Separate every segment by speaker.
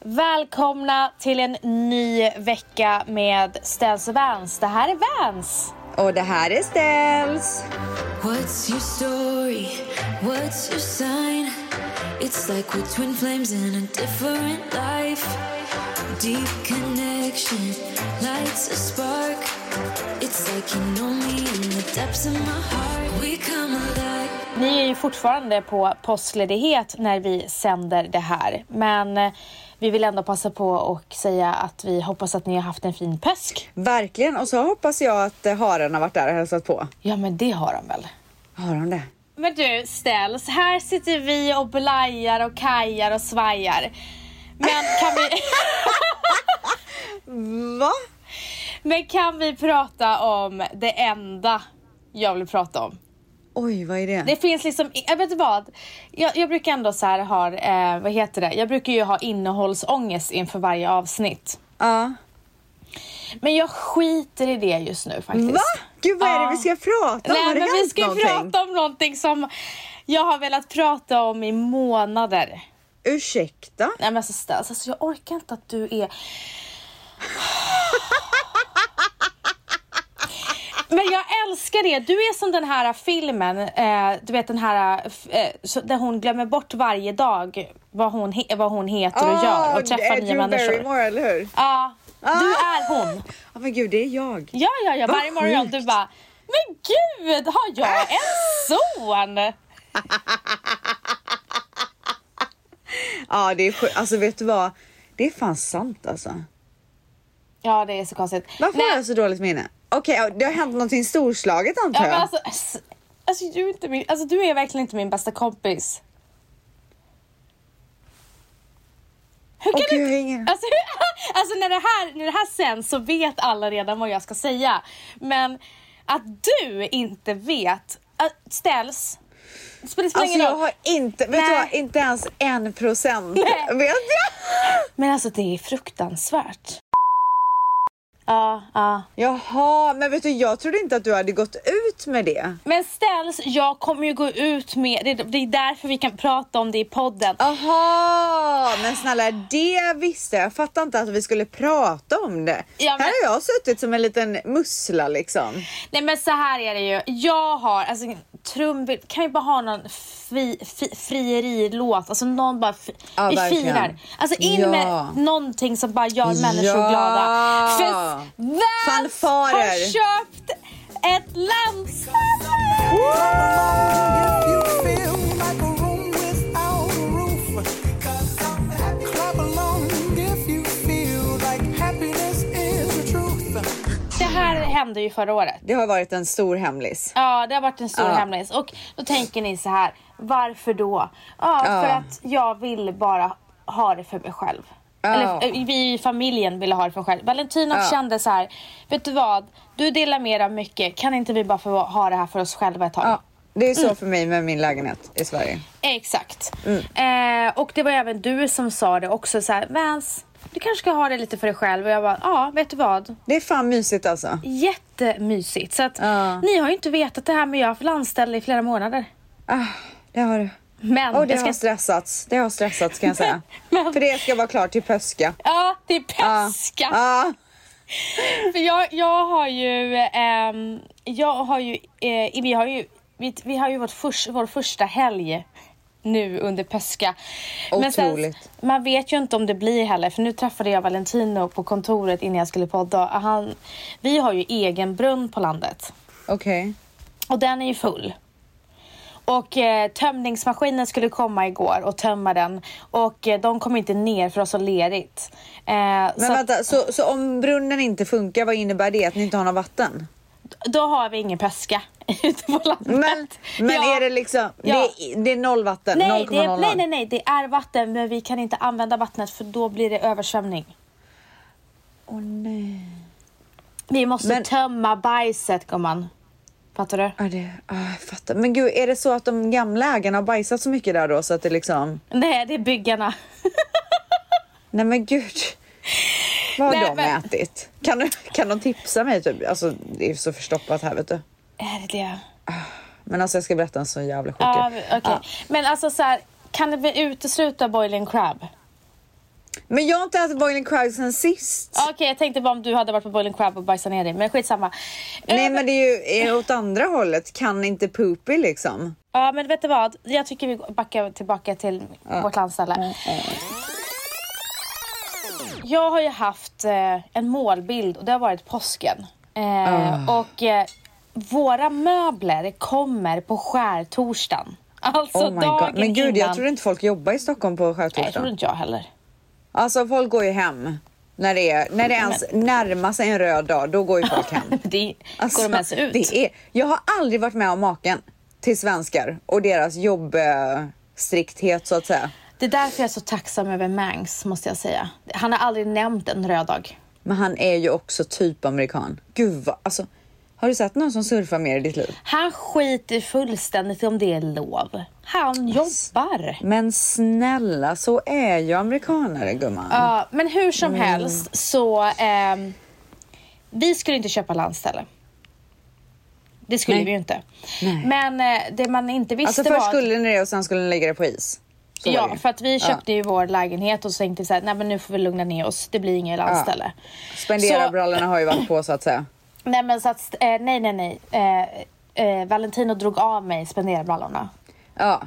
Speaker 1: Välkomna till en ny vecka med Stens och Vans. Det här är Vans.
Speaker 2: Och det här är Stens.
Speaker 3: What's your story? What's your sign? It's like we're twin flames in a different life. Deep connection lights a spark. It's like you know me in the depths of my heart. We come alive.
Speaker 1: Ni är ju fortfarande på påskledighet när vi sänder det här. Men eh, vi vill ändå passa på och säga att vi hoppas att ni har haft en fin påsk.
Speaker 2: Verkligen. Och så hoppas jag att eh, haren har varit där och hälsat på.
Speaker 1: Ja, men det har de väl?
Speaker 2: Har hon det?
Speaker 1: Men du Stels, här sitter vi och blajar och kajar och svajar. Men kan vi,
Speaker 2: Va?
Speaker 1: men kan vi prata om det enda jag vill prata om?
Speaker 2: Oj, vad är det?
Speaker 1: Det finns liksom, jag vet du vad? Jag, jag brukar ändå så här ha, eh, vad heter det? Jag brukar ju ha innehållsångest inför varje avsnitt.
Speaker 2: Ja.
Speaker 1: Men jag skiter i det just nu faktiskt.
Speaker 2: Va? Gud, vad är det
Speaker 1: Ja.
Speaker 2: vi ska prata om?
Speaker 1: Nej
Speaker 2: har det
Speaker 1: men vi
Speaker 2: hänt
Speaker 1: ska ju
Speaker 2: någonting?
Speaker 1: prata om någonting som jag har velat prata om i månader.
Speaker 2: Ursäkta?
Speaker 1: Nej men alltså Stas, alltså, jag orkar inte att du är... Men jag älskar det. Du är som den här filmen, eh, du vet den här eh, f- eh, så- där hon glömmer bort varje dag vad hon, he- vad hon heter och gör
Speaker 2: Ah,
Speaker 1: och träffar nya människor. Ja,
Speaker 2: Barrymore, eller hur?
Speaker 1: du är hon.
Speaker 2: Ja, men gud, det är jag.
Speaker 1: Ja, ja, ja.
Speaker 2: Vad
Speaker 1: Varje morgon
Speaker 2: sjukt.
Speaker 1: du bara, men gud, har jag en son?
Speaker 2: Ja, det är sjukt. Alltså, vet du vad? Det är fan sant alltså.
Speaker 1: Ja, det är så konstigt.
Speaker 2: Varför
Speaker 1: Nej,
Speaker 2: har jag så dåligt minne? Okej, ja, det har hänt någonting storslaget
Speaker 1: Ja,
Speaker 2: antar
Speaker 1: men
Speaker 2: jag.
Speaker 1: alltså, s- alltså, du är inte min, alltså du är verkligen inte min bästa kompis. Hur kan
Speaker 2: Åh,
Speaker 1: du
Speaker 2: gud, jag har
Speaker 1: inte-
Speaker 2: ingen-
Speaker 1: alltså, alltså när det här, när det här sänds så vet alla redan vad jag ska säga. Men att du inte vet, äh, ställs. Det spelar ingen
Speaker 2: Alltså jag
Speaker 1: roll.
Speaker 2: har inte, vet du
Speaker 1: Nej.
Speaker 2: vad, inte ens en procent.
Speaker 1: Nej.
Speaker 2: Vet jag?
Speaker 1: Men alltså det är fruktansvärt. Ja, ja.
Speaker 2: Jaha, men vet du jag trodde inte att du hade gått ut med det.
Speaker 1: Men ställs, jag kommer ju gå ut med, det, det är därför vi kan prata om det i podden.
Speaker 2: Aha, men snälla det visste jag. Jag fattade inte att vi skulle prata om det.
Speaker 1: Ja, men-
Speaker 2: Här har jag suttit som en liten mussla liksom.
Speaker 1: Nej men så här är det ju. Jag har, alltså trumbil, kan vi bara ha någon fri, fri, frierilåt? Alltså någon bara, fi,
Speaker 2: Ja,
Speaker 1: vi
Speaker 2: verkligen.
Speaker 1: firar. Alltså in
Speaker 2: Ja.
Speaker 1: med någonting som bara gör människor
Speaker 2: Ja.
Speaker 1: glada. För Vans
Speaker 2: Fanfarer.
Speaker 1: har köpt ett landställe!
Speaker 4: You feel like a room without a roof. Clap along if you feel like happiness is the truth.
Speaker 1: Det här hände ju förra året.
Speaker 2: Det har varit en stor hemlis.
Speaker 1: Ja, det har varit en stor
Speaker 2: Ja.
Speaker 1: hemlis. Och då tänker ni så här, varför då? Ja, för att jag vill bara ha det för mig själv.
Speaker 2: Ja.
Speaker 1: Eller eh, vi i familjen ville ha det för mig själv. Valentino
Speaker 2: Ja.
Speaker 1: kände så här, vet du vad? Du delar med dig av mycket, kan inte vi bara få ha det här för oss själva ett tag?
Speaker 2: Ja, det är så för mig med min lägenhet i Sverige.
Speaker 1: Exakt.
Speaker 2: Mm.
Speaker 1: Eh, och det var även du som sa det också så här, Vans, du kanske ska ha det lite för dig själv. Och jag bara, ja, vet du vad?
Speaker 2: Det är fan mysigt alltså.
Speaker 1: Jättemysigt. Så att
Speaker 2: Ja.
Speaker 1: ni har ju inte vetat det här, men jag har haft landställe i flera månader.
Speaker 2: Ah, det har du.
Speaker 1: Men
Speaker 2: Och det
Speaker 1: jag ska
Speaker 2: har stressats. Det har stressats kan jag säga.
Speaker 1: Men-
Speaker 2: För det ska vara klart till Ah. påska.
Speaker 1: Ja, det är
Speaker 2: Ja.
Speaker 1: peska.
Speaker 2: Ja.
Speaker 1: För jag, jag har ju, ehm, jag har ju, eh, vi har ju, vi, vi har ju vårt förs- vår första helg nu under påska.
Speaker 2: Otroligt.
Speaker 1: man vet ju inte om det blir heller, för nu träffade jag Valentino på kontoret innan jag skulle podda. Han, vi har ju egen brunn på landet
Speaker 2: Okej.
Speaker 1: och den är ju full. Och eh, tömningsmaskinen skulle komma igår och tömma den och eh, de kom inte ner för det var så lerigt. Eh,
Speaker 2: Men vänta, så, så om brunnen inte funkar, vad innebär det? Att ni inte har något vatten?
Speaker 1: Då har vi ingen peska ute på landet.
Speaker 2: Men, men
Speaker 1: Ja.
Speaker 2: är det liksom,
Speaker 1: Ja.
Speaker 2: det, är, det är noll vatten?
Speaker 1: nej, det är,
Speaker 2: 0,00?
Speaker 1: nej, nej, nej, det är vatten men vi kan inte använda vattnet för då blir det översvämning.
Speaker 2: Åh, nej.
Speaker 1: Vi måste
Speaker 2: Men-
Speaker 1: tömma bajset gumman. Fattar du?
Speaker 2: Ja, det, ah, jag fattar. Men gud, är det så att de gamla ägarna har bajsat så mycket där då så att det liksom,
Speaker 1: Nej, det är byggarna.
Speaker 2: nej men gud. Vad har
Speaker 1: Nej,
Speaker 2: de
Speaker 1: men-
Speaker 2: ätit? Kan, du, kan de tipsa mig typ? Alltså det är ju så förstoppat här vet du.
Speaker 1: Är det det?
Speaker 2: Men alltså jag ska berätta en så jävla sjuk
Speaker 1: Ja,
Speaker 2: grej.
Speaker 1: okej. Men alltså så här, kan vi utesluta boiling crab?
Speaker 2: Men jag har inte ätit boiling crab sen sist.
Speaker 1: Okej, jag tänkte bara om du hade varit på boiling crab och bajsat ner dig, men skitsamma.
Speaker 2: Nej
Speaker 1: Eh,
Speaker 2: men det är ju är åt andra hållet, kan inte poopy liksom.
Speaker 1: Ja, men vet du vad? Jag tycker vi backar tillbaka till vårt landställe.
Speaker 2: Mm.
Speaker 1: Jag har ju haft eh, en målbild och det har varit påsken. Eh,
Speaker 2: Ah.
Speaker 1: Och eh, våra möbler kommer på skärtorsdagen. Alltså
Speaker 2: Oh my
Speaker 1: dagen
Speaker 2: god. Men gud
Speaker 1: innan.
Speaker 2: jag tror inte folk jobbar i Stockholm på
Speaker 1: Nej, jag tror
Speaker 2: skärtorsdagen.
Speaker 1: inte jag heller.
Speaker 2: Alltså folk går ju hem. När det, är, när det ens närmar sig en röd dag, då går ju folk hem.
Speaker 1: Det
Speaker 2: Alltså,
Speaker 1: går de ens ut?
Speaker 2: Det är, jag har aldrig varit med om maken till svenskar och deras jobbstrikthet så att säga.
Speaker 1: Det är därför jag är så tacksam över Mangs, måste jag säga. Han har aldrig nämnt en röd dag.
Speaker 2: Men han är ju också typ amerikan. Gud vad, alltså. Har du sett någon som surfar mer i ditt liv?
Speaker 1: Han skiter fullständigt om det är lov. Han jobbar.
Speaker 2: Men snälla, så är ju amerikanare gumman.
Speaker 1: Ja, men hur som
Speaker 2: Mm.
Speaker 1: helst så... ehm, vi skulle inte köpa landställe. Det skulle
Speaker 2: Nej.
Speaker 1: vi ju inte.
Speaker 2: Nej.
Speaker 1: Men eh, det man inte visste
Speaker 2: alltså
Speaker 1: var...
Speaker 2: först
Speaker 1: att-
Speaker 2: skulle ni det och sen skulle ni lägga det på is. Så var det
Speaker 1: Ja,
Speaker 2: ju.
Speaker 1: för att vi
Speaker 2: Ja.
Speaker 1: köpte ju vår lägenhet och så tänkte vi så här, nej men nu får vi lugna ner oss, det blir inget landställe.
Speaker 2: Spendera
Speaker 1: Så-
Speaker 2: brallorna har ju varit på så att säga.
Speaker 1: Nej men så att, eh, nej nej nej. Eh, eh, Valentino drog av mig spenderbrallorna.
Speaker 2: Ja,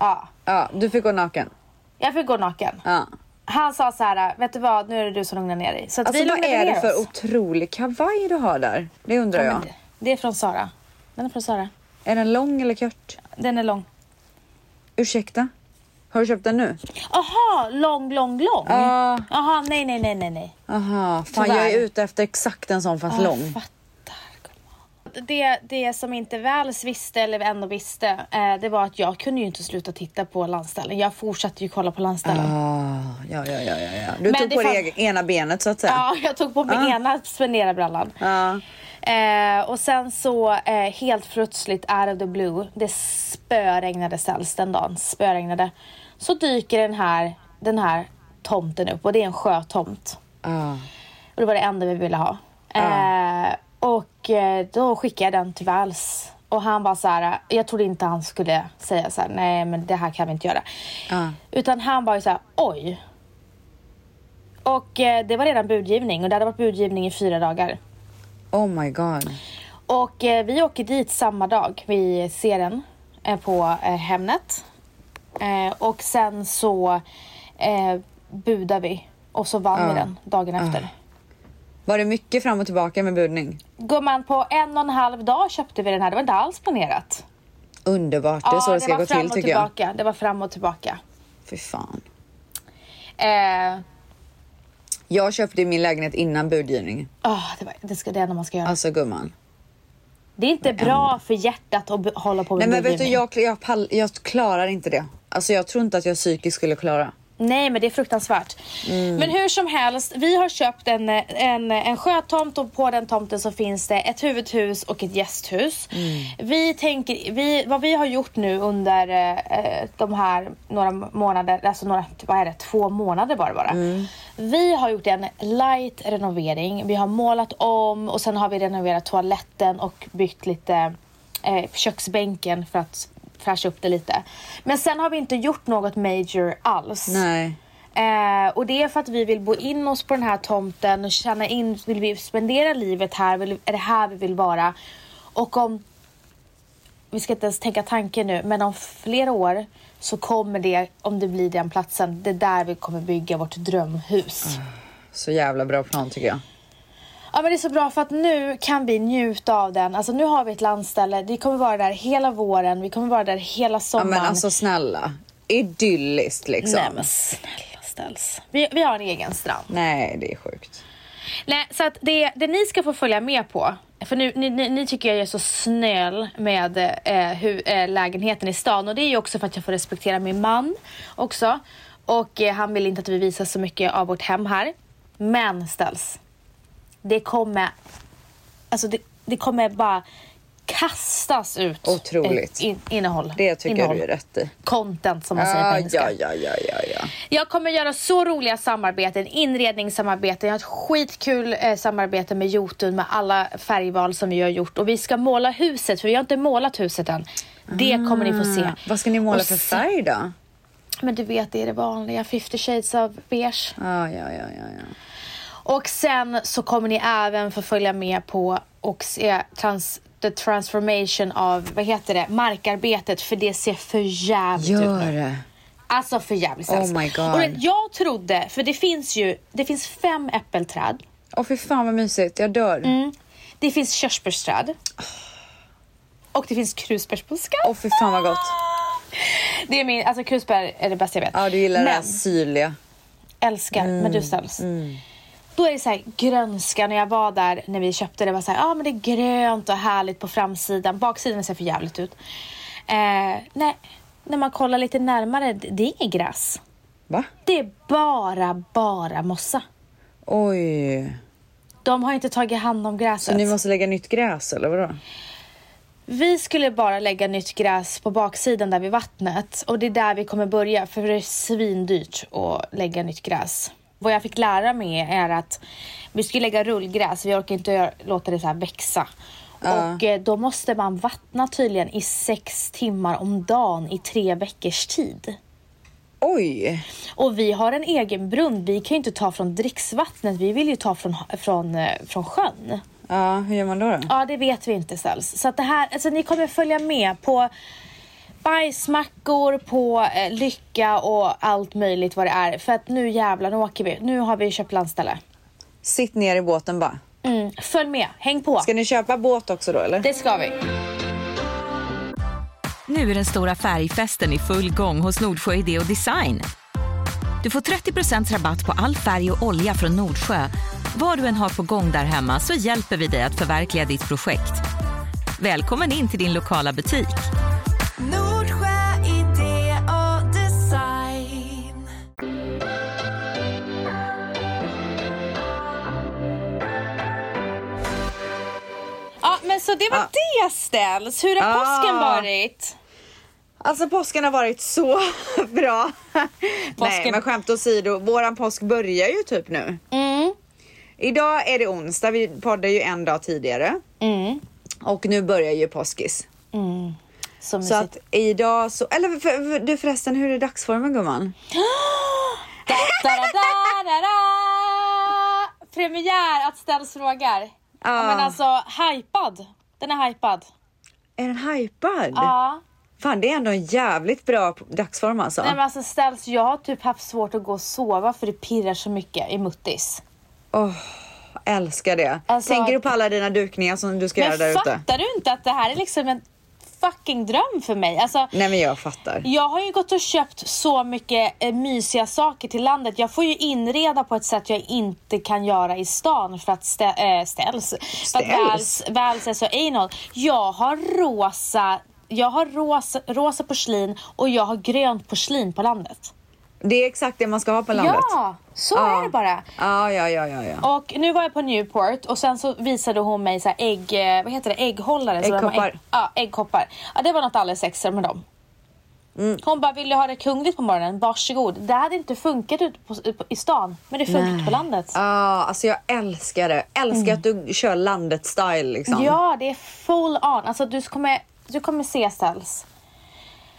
Speaker 1: Ja.
Speaker 2: ja, du fick gå naken.
Speaker 1: Jag fick gå naken.
Speaker 2: Ja.
Speaker 1: Han sa så här, vet du vad, nu är det du som lugnar ner dig. Så att
Speaker 2: Alltså
Speaker 1: vi
Speaker 2: vad
Speaker 1: lugnade
Speaker 2: är
Speaker 1: ner
Speaker 2: det för
Speaker 1: oss.
Speaker 2: otrolig kavaj du har där? Det undrar
Speaker 1: Ja,
Speaker 2: jag.
Speaker 1: men det- Det är från Sara. Den är från Sara.
Speaker 2: Är den lång eller kort?
Speaker 1: Den är lång.
Speaker 2: Ursäkta? Har du köpt den nu?
Speaker 1: Aha, lång, lång, lång.
Speaker 2: Ja.
Speaker 1: Aha, nej, nej, nej, nej, nej.
Speaker 2: Aha, fan
Speaker 1: Tyvärr. Ah,
Speaker 2: jag är ute efter exakt en sån fast
Speaker 1: Jag
Speaker 2: lång.
Speaker 1: fattar. gumman. Det, det som inte väls visste, eller ändå visste, eh, det var att jag kunde ju inte sluta titta på landställen. Jag fortsatte ju kolla på landställen.
Speaker 2: Ah, ja, ja, ja, ja, ja. Du
Speaker 1: Men
Speaker 2: tog
Speaker 1: det
Speaker 2: på
Speaker 1: fan-
Speaker 2: det eg- ena benet så att säga.
Speaker 1: Ja, jag tog på mig
Speaker 2: Ah.
Speaker 1: ena spenderarbrallan.
Speaker 2: Ja.
Speaker 1: Eh, och sen så eh, helt plötsligt out of the blue, det spöregnade sällst den dagen, spöregnade. Så dyker den här, den här tomten upp och det är en sjötomt.
Speaker 2: Ah.
Speaker 1: Och det var det enda vi ville ha. Eh, och eh, då skickade jag den till Vals. Och han bara så här, jag trodde inte han skulle säga så här, nej men det här kan vi inte göra.
Speaker 2: Ja.
Speaker 1: Utan han var ju så här, oj. Och eh, det var redan budgivning och det hade varit budgivning i fyra dagar.
Speaker 2: Oh my god.
Speaker 1: Och eh, vi åker dit samma dag. Vi ser den eh, på eh, Hemnet. Eh, och sen så eh, budar vi. Och så vann vi den dagen efter.
Speaker 2: Var det mycket fram och tillbaka med budning?
Speaker 1: Gumman, på en och en halv dag köpte vi den här. Det var inte alls planerat.
Speaker 2: Underbart, det är så det, ska
Speaker 1: var
Speaker 2: gå
Speaker 1: fram
Speaker 2: till
Speaker 1: och
Speaker 2: tycker jag.
Speaker 1: tillbaka. Det var fram och tillbaka.
Speaker 2: Fy fan.
Speaker 1: Eh,
Speaker 2: Jag köpte ju min lägenhet innan budgivning.
Speaker 1: ah, det, var, det, ska, det är det man ska göra.
Speaker 2: Alltså gumman.
Speaker 1: det är inte bra för hjärtat att be- hålla på med
Speaker 2: Nej men vet du,
Speaker 1: budgivning.
Speaker 2: jag, jag, pall, jag klarar inte det. Alltså jag tror inte att jag psykiskt skulle klara.
Speaker 1: Nej, men det är fruktansvärt. Men hur som helst, vi har köpt en, en, en sjötomt och på den tomten så finns det ett huvudhus och ett gästhus. Vi tänker, vi, vad vi har gjort nu under eh, de här några månader, alltså några, typ, vad är det, två månader bara bara. Vi har gjort en light renovering. Vi har målat om och sen har vi renoverat toaletten och byggt lite eh, köksbänken för att fräscha upp det lite. Men sen har vi inte gjort något major alls.
Speaker 2: Nej.
Speaker 1: Eh, och det är för att vi vill bo in oss på den här tomten och känna in, vill vi spendera livet här? Vill, är det här vi vill vara? Och om, vi ska inte ens tänka tanken nu, men om flera år så kommer det, om det blir den platsen, det är där vi kommer bygga vårt drömhus.
Speaker 2: Mm. Så jävla bra plan tycker jag.
Speaker 1: Ja men det är så bra för att nu kan vi njuta av den. Alltså nu har vi ett landställe, vi kommer vara där hela våren, vi kommer vara där hela
Speaker 2: Ja,
Speaker 1: sommaren.
Speaker 2: men alltså snälla. Idylliskt liksom.
Speaker 1: Nej
Speaker 2: Nej,
Speaker 1: men snälla ställs. Vi, vi har en egen strand.
Speaker 2: det är sjukt.
Speaker 1: Nej, så att det, det ni ska få följa med på, för nu, ni, ni, ni tycker jag är så snäll med eh, hur, eh, lägenheten i stan och det är ju också för att jag får respektera min man också. Och eh, han vill inte att vi visar så mycket av vårt hem här. Men ställs, det kommer, alltså det, det kommer bara kastas ut
Speaker 2: Otroligt.
Speaker 1: eh, in, innehåll.
Speaker 2: Det tycker jag
Speaker 1: innehåll.
Speaker 2: du är rätt i. Ah,
Speaker 1: Content som man säger på
Speaker 2: Ja,
Speaker 1: engelska.
Speaker 2: ja, ja, ja, ja, ja.
Speaker 1: Jag kommer göra så roliga samarbeten, inredningssamarbeten. Jag har ett skitkul eh, samarbete med Jotun med alla färgval som vi har gjort. Och vi ska måla
Speaker 2: Ah.
Speaker 1: huset, för vi har inte målat huset än. Det kommer ni få se.
Speaker 2: Mm. Vad ska ni måla
Speaker 1: Och
Speaker 2: för
Speaker 1: se-
Speaker 2: färg då?
Speaker 1: Men du vet, det är det vanliga. 50 shades of beige.
Speaker 2: Ja, Ah, ja, ja, ja, ja.
Speaker 1: Och sen så kommer ni även få följa med på och se trans, the transformation av, vad heter det, markarbetet. För det ser för jävligt ut nu.
Speaker 2: Gör det.
Speaker 1: Alltså för jävligt
Speaker 2: Oh
Speaker 1: sämst.
Speaker 2: my God.
Speaker 1: Och det- jag trodde, för det finns ju, det finns fem äppelträd.
Speaker 2: Åh fy fan vad mysigt, jag dör. Åh
Speaker 1: Mm. Det finns körsbärsträd. Och det finns krusbärsbuskar.
Speaker 2: fy fan vad gott.
Speaker 1: Det är min, alltså krusbär är det bästa jag vet.
Speaker 2: Ja, du gillar Mm, det här
Speaker 1: Men,
Speaker 2: syrliga.
Speaker 1: älskar, men du sämst. Då är det så här grönska när jag var där när vi köpte det var så här, ah, men det är grönt och härligt på framsidan. Baksidan ser för jävligt ut. Eh, nej, när man kollar lite närmare, det det är inget gräs.
Speaker 2: Va?
Speaker 1: Det är bara, bara mossa.
Speaker 2: Oj.
Speaker 1: De har inte tagit hand om
Speaker 2: Så
Speaker 1: gräset.
Speaker 2: ni måste lägga nytt gräs eller vadå?
Speaker 1: Vi skulle bara lägga nytt gräs på baksidan där vid vattnet och det är där vi kommer börja för det är svindyrt att lägga nytt gräs. Vad jag fick lära mig är att vi ska lägga rullgräs, vi orkar inte göra- låta det så här växa. Och eh, då måste man vattna tydligen i sex timmar om dagen i tre veckors tid.
Speaker 2: Oj!
Speaker 1: Och vi har en egen brunn, vi kan ju inte ta från dricksvattnet, vi vill ju ta från, från, eh, från sjön.
Speaker 2: Ja, hur gör man då? då?
Speaker 1: Ja, det vet vi inte ställs. Så att det här, alltså ni kommer följa med på bajsmackor, på eh, lycka och allt möjligt vad det är. För att nu jävlar, nu åker vi. Nu har vi köpt landställe.
Speaker 2: Sitt ner i båten bara.
Speaker 1: Mm. Följ med, häng på.
Speaker 2: Ska ni köpa båt också då eller?
Speaker 1: Det ska vi.
Speaker 5: Nu är den stora färgfesten i full gång hos Nordsjö Idé och Design. Du får 30 rabatt på all färg och olja från Nordsjö. Vad du än har på gång där hemma så hjälper vi dig att förverkliga ditt projekt. Välkommen in till din lokala butik.
Speaker 3: Nordsjö idé och design.
Speaker 1: Ja, men så det var
Speaker 2: Ah.
Speaker 1: det ställs. Hur har
Speaker 2: Ja.
Speaker 1: påsken varit?
Speaker 2: Alltså påsken har varit så bra. Nej
Speaker 1: Påsken-
Speaker 2: men skämt åsido, våran påsk börjar ju typ nu.
Speaker 1: Mm.
Speaker 2: Idag är det onsdag, vi poddar ju en dag tidigare.
Speaker 1: Mm.
Speaker 2: Och nu börjar ju påskis.
Speaker 1: Så
Speaker 2: Så
Speaker 1: mysigt.
Speaker 2: att idag så, eller för, för, du förresten hur är dagsformen gumman?
Speaker 1: Da, da, da, da, da, da. Premiär att ställs frågar. Ja.
Speaker 2: Ja.
Speaker 1: men alltså, hypad. Den är hypad.
Speaker 2: Är den hypad?
Speaker 1: Ja.
Speaker 2: Fan det är ändå en jävligt bra p- dagsform alltså.
Speaker 1: Nej men alltså ställs, jag har typ haft svårt att gå och sova för det pirrar så mycket i muttis.
Speaker 2: Älskar det.
Speaker 1: Alltså-
Speaker 2: Tänker du på alla dina dukningar som du ska göra
Speaker 1: Men
Speaker 2: där ute?
Speaker 1: fattar du inte att det här är liksom en fucking dröm för mig? Alltså,
Speaker 2: Nej men jag fattar.
Speaker 1: jag har ju gått och köpt så mycket eh, mysiga saker till landet. Jag får ju inreda på ett sätt jag inte kan göra i stan för att stä- äh, ställs. För att
Speaker 2: Ställs?
Speaker 1: väls, väls är så anal. Jag har rosa, jag har rosa, rosa porslin och jag har grönt porslin på landet.
Speaker 2: Det är exakt det man ska ha på landet.
Speaker 1: Ja, så
Speaker 2: Ja.
Speaker 1: är det bara.
Speaker 2: Ja, ja, ja, ja, ja.
Speaker 1: Och nu var jag på Newport och sen så visade hon mig så här ägg, eh, vad heter det, ägghållare. Så de har
Speaker 2: Äggkoppar.
Speaker 1: Ägg, ja, äggkoppar. Ja, det var något alldeles extra med dem.
Speaker 2: Mm.
Speaker 1: Hon bara, vill du ha det kungligt på morgonen? Varsågod. Det hade inte funkat ute på, på, i stan, men det funkar ute på landet.
Speaker 2: Ja, alltså jag älskar det. Älskar att du kör landet style liksom.
Speaker 1: Mm. Ja, det är full on. Alltså du kommer, du kommer se ställs.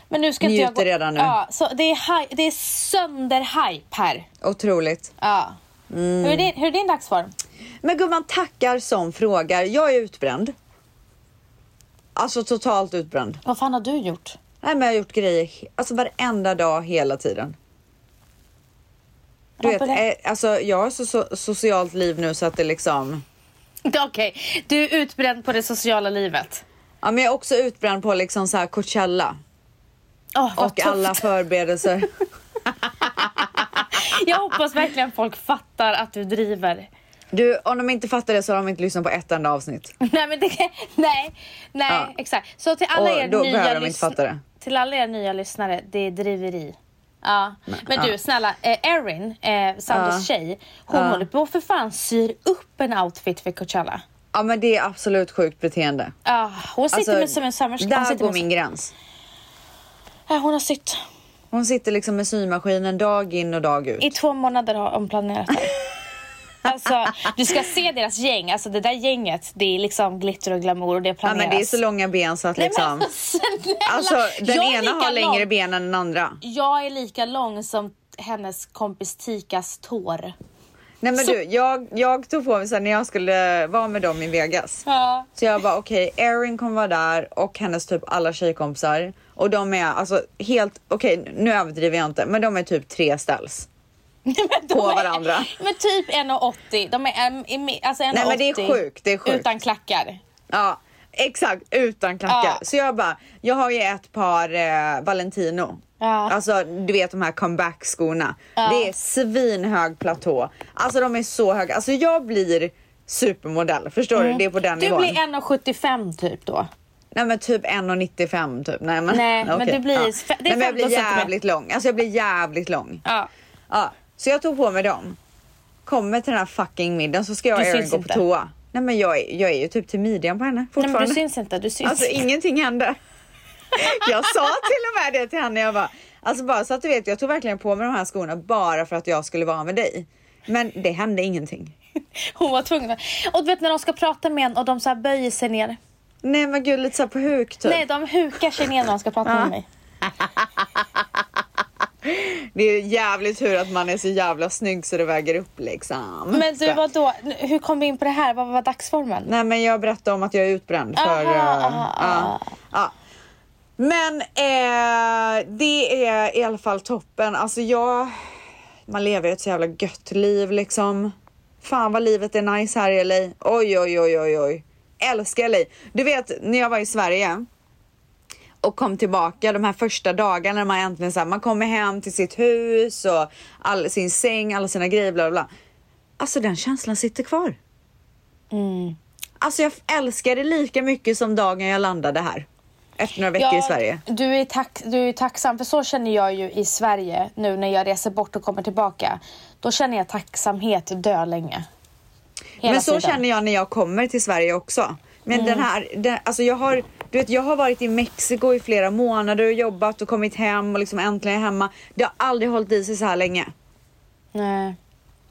Speaker 1: Men nu ska inte jag
Speaker 2: Njuter redan nu.
Speaker 1: Ja, så det är, hy- det är sönder-hype här.
Speaker 2: Otroligt.
Speaker 1: Ja.
Speaker 2: Mm.
Speaker 1: Hur, är din, hur är din dagsform?
Speaker 2: Men gumman, tackar som frågar. Jag är utbränd. Alltså totalt utbränd.
Speaker 1: Vad fan har du gjort?
Speaker 2: Nej, men jag har gjort grejer he- alltså varenda dag hela tiden. Du
Speaker 1: Ja,
Speaker 2: vet,
Speaker 1: på det-
Speaker 2: eh, alltså jag har så, så socialt liv nu så att det liksom...
Speaker 1: Okej, du är utbränd på det sociala livet.
Speaker 2: Ja, men jag är också utbränd på liksom så här Coachella
Speaker 1: Åh, vad
Speaker 2: och
Speaker 1: tufft.
Speaker 2: alla förberedelser.
Speaker 1: Jag hoppas verkligen folk fattar att du driver.
Speaker 2: Du, om de inte fattar det så har de inte lyssnat på ett enda avsnitt.
Speaker 1: Nej, men det, nej, nej
Speaker 2: Ja.
Speaker 1: exakt. Så till alla
Speaker 2: Och
Speaker 1: er
Speaker 2: då behöver
Speaker 1: nya
Speaker 2: de inte
Speaker 1: lyssn-
Speaker 2: fatta det.
Speaker 1: Till alla er nya lyssnare, det är driveri. Ja. Men,
Speaker 2: ja.
Speaker 1: du, snälla, eh, Erin, eh, Sanders
Speaker 2: Ja.
Speaker 1: tjej, hon
Speaker 2: Ja.
Speaker 1: håller på för fan syr upp en outfit för Coachella.
Speaker 2: Ja men det är absolut sjukt beteende. Alltså,
Speaker 1: Ah, hon sitter med som en sömmerska. Hon,
Speaker 2: där
Speaker 1: sitter
Speaker 2: går
Speaker 1: med-
Speaker 2: min gräns.
Speaker 1: Ja, hon har sytt.
Speaker 2: Hon sitter liksom med symaskinen dag in och dag ut.
Speaker 1: I två månader har hon planerat det. Alltså, du ska se deras gäng. Alltså, det där gänget, det är liksom glitter och glamour och det
Speaker 2: Ja,
Speaker 1: planeras.
Speaker 2: men det är så långa ben så att
Speaker 1: Nej, men
Speaker 2: liksom...
Speaker 1: snälla,
Speaker 2: Alltså den
Speaker 1: jag är
Speaker 2: ena
Speaker 1: lika
Speaker 2: har längre
Speaker 1: lång.
Speaker 2: ben än den andra.
Speaker 1: Jag är lika lång som hennes kompis Tikas tår.
Speaker 2: Nej men
Speaker 1: Så-
Speaker 2: du, jag, jag tog på mig sen när jag skulle vara med dem i Vegas.
Speaker 1: Ja.
Speaker 2: Så jag bara okej, Erin kommer vara där och hennes typ alla tjejkompisar. Och de är alltså helt, okej nu överdriver jag inte, men de är typ tre ställs.
Speaker 1: Men de
Speaker 2: På varandra.
Speaker 1: Är, men typ 1,80. De är, em- em- alltså 1,80
Speaker 2: Nej, men det är sjukt, det är sjukt.
Speaker 1: Utan klackar.
Speaker 2: Ja, exakt utan klackar.
Speaker 1: Ja.
Speaker 2: Så jag bara, jag har ju ett par eh, Valentino.
Speaker 1: Ja.
Speaker 2: Alltså du vet de här comeback skorna. Det är svinhög platå. Alltså de är så höga. Alltså jag blir supermodell, förstår du? Det är på den
Speaker 1: Mm. Du
Speaker 2: nivån.
Speaker 1: blir 1,75 typ då.
Speaker 2: Nej men typ 1,95 typ. Nej men,
Speaker 1: Nej, men
Speaker 2: okej,
Speaker 1: du blir- fe- det är
Speaker 2: Nej, men jag blir
Speaker 1: 15 centimeter.
Speaker 2: jävligt lång. Alltså jag blir jävligt lång.
Speaker 1: Ja.
Speaker 2: Ja, så jag tog på mig dem. Kommer till den här fucking middagen så ska jag och
Speaker 1: Du
Speaker 2: Erin
Speaker 1: syns
Speaker 2: gå
Speaker 1: inte.
Speaker 2: på toa. Nej men jag, är- jag är ju typ till midjan på henne
Speaker 1: Nej,
Speaker 2: fortfarande.
Speaker 1: men du syns inte. Du syns
Speaker 2: Alltså
Speaker 1: inte.
Speaker 2: ingenting hände. Jag sa till och med det till henne. Jag bara, alltså bara så att du vet, jag tog verkligen på mig de här skorna bara för att jag skulle vara med dig. Men det hände ingenting.
Speaker 1: Hon var tvungen. att- Och du vet när de ska prata med en och de så här böjer sig ner.
Speaker 2: Nej men gud, lite så här på huk typ. Ah.
Speaker 1: Nej, de hukar sig ner när de ska prata med mig.
Speaker 2: Det är jävligt tur att man är så jävla snygg så det väger upp liksom.
Speaker 1: Men du, vadå? Hur kom vi in på det här? Vad var dagsformen?
Speaker 2: Nej men jag berättade om att jag är utbränd för...
Speaker 1: Aha,
Speaker 2: eh,
Speaker 1: aha,
Speaker 2: ja,
Speaker 1: aha.
Speaker 2: ja. Men eh, det är i alla fall toppen. Alltså jag... Man lever ju ett så jävla gött liv liksom. Fan vad livet är nice här i LA. Oj oj oj oj oj. Älskar LA. Du vet när jag var i Sverige och kom tillbaka de här första dagarna när man äntligen så här, man kommer hem till sitt hus och all, sin säng, alla sina grejer bla bla, bla. Alltså den känslan sitter kvar.
Speaker 1: Mm.
Speaker 2: Alltså jag älskar det lika mycket som dagen jag landade här. Efter några veckor i Sverige.
Speaker 1: Du är, tack, du är tacksam, för så känner jag ju i Sverige nu när jag reser bort och kommer tillbaka. Då känner jag tacksamhet dö länge. Hela
Speaker 2: Men så
Speaker 1: tiden. Mm.
Speaker 2: känner jag när jag kommer till Sverige också. Men den här, den, alltså jag har, du vet jag har varit i Mexiko i flera månader och jobbat och kommit hem och liksom äntligen är hemma. Det har aldrig hållit i sig så här länge.
Speaker 1: Nej.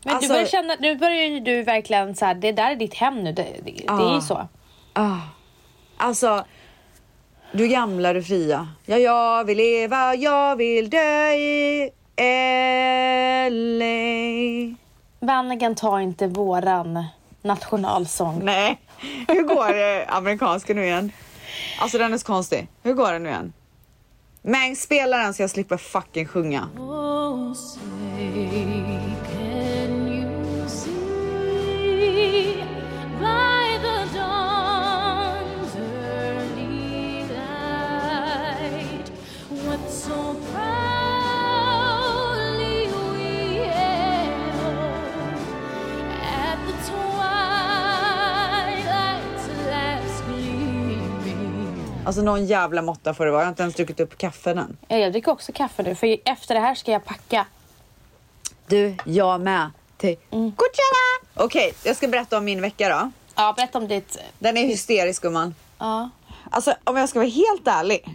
Speaker 1: Men
Speaker 2: Alltså-
Speaker 1: du börjar känna, nu börjar ju du verkligen så här, det där är ditt hem nu. Det, det, det är
Speaker 2: Ah.
Speaker 1: ju så.
Speaker 2: Alltså, du gamla du fria. Ja, jag vill leva, jag vill dö i LA.
Speaker 1: Vanligen tar inte våran nationalsång.
Speaker 2: Nej. Hur går det amerikanska nu igen? Alltså den är så konstig. Hur går den nu igen? Men spela den så jag slipper fucking sjunga.
Speaker 3: Oh, say, can you see by the dawn's early light what so proudly we hailed at the twilight's last gleaming?
Speaker 2: Alltså någon jävla måtta får det vara. Jag har inte ens druckit upp kaffen än.
Speaker 1: Ja, Jag dricker också kaffe nu, för efter det här ska jag packa.
Speaker 2: Du, jag med. Till mm. Okej, jag ska berätta om min vecka då.
Speaker 1: Ja, berätta om ditt...
Speaker 2: Den är hysterisk gumman.
Speaker 1: Ja.
Speaker 2: Alltså om jag ska vara helt ärlig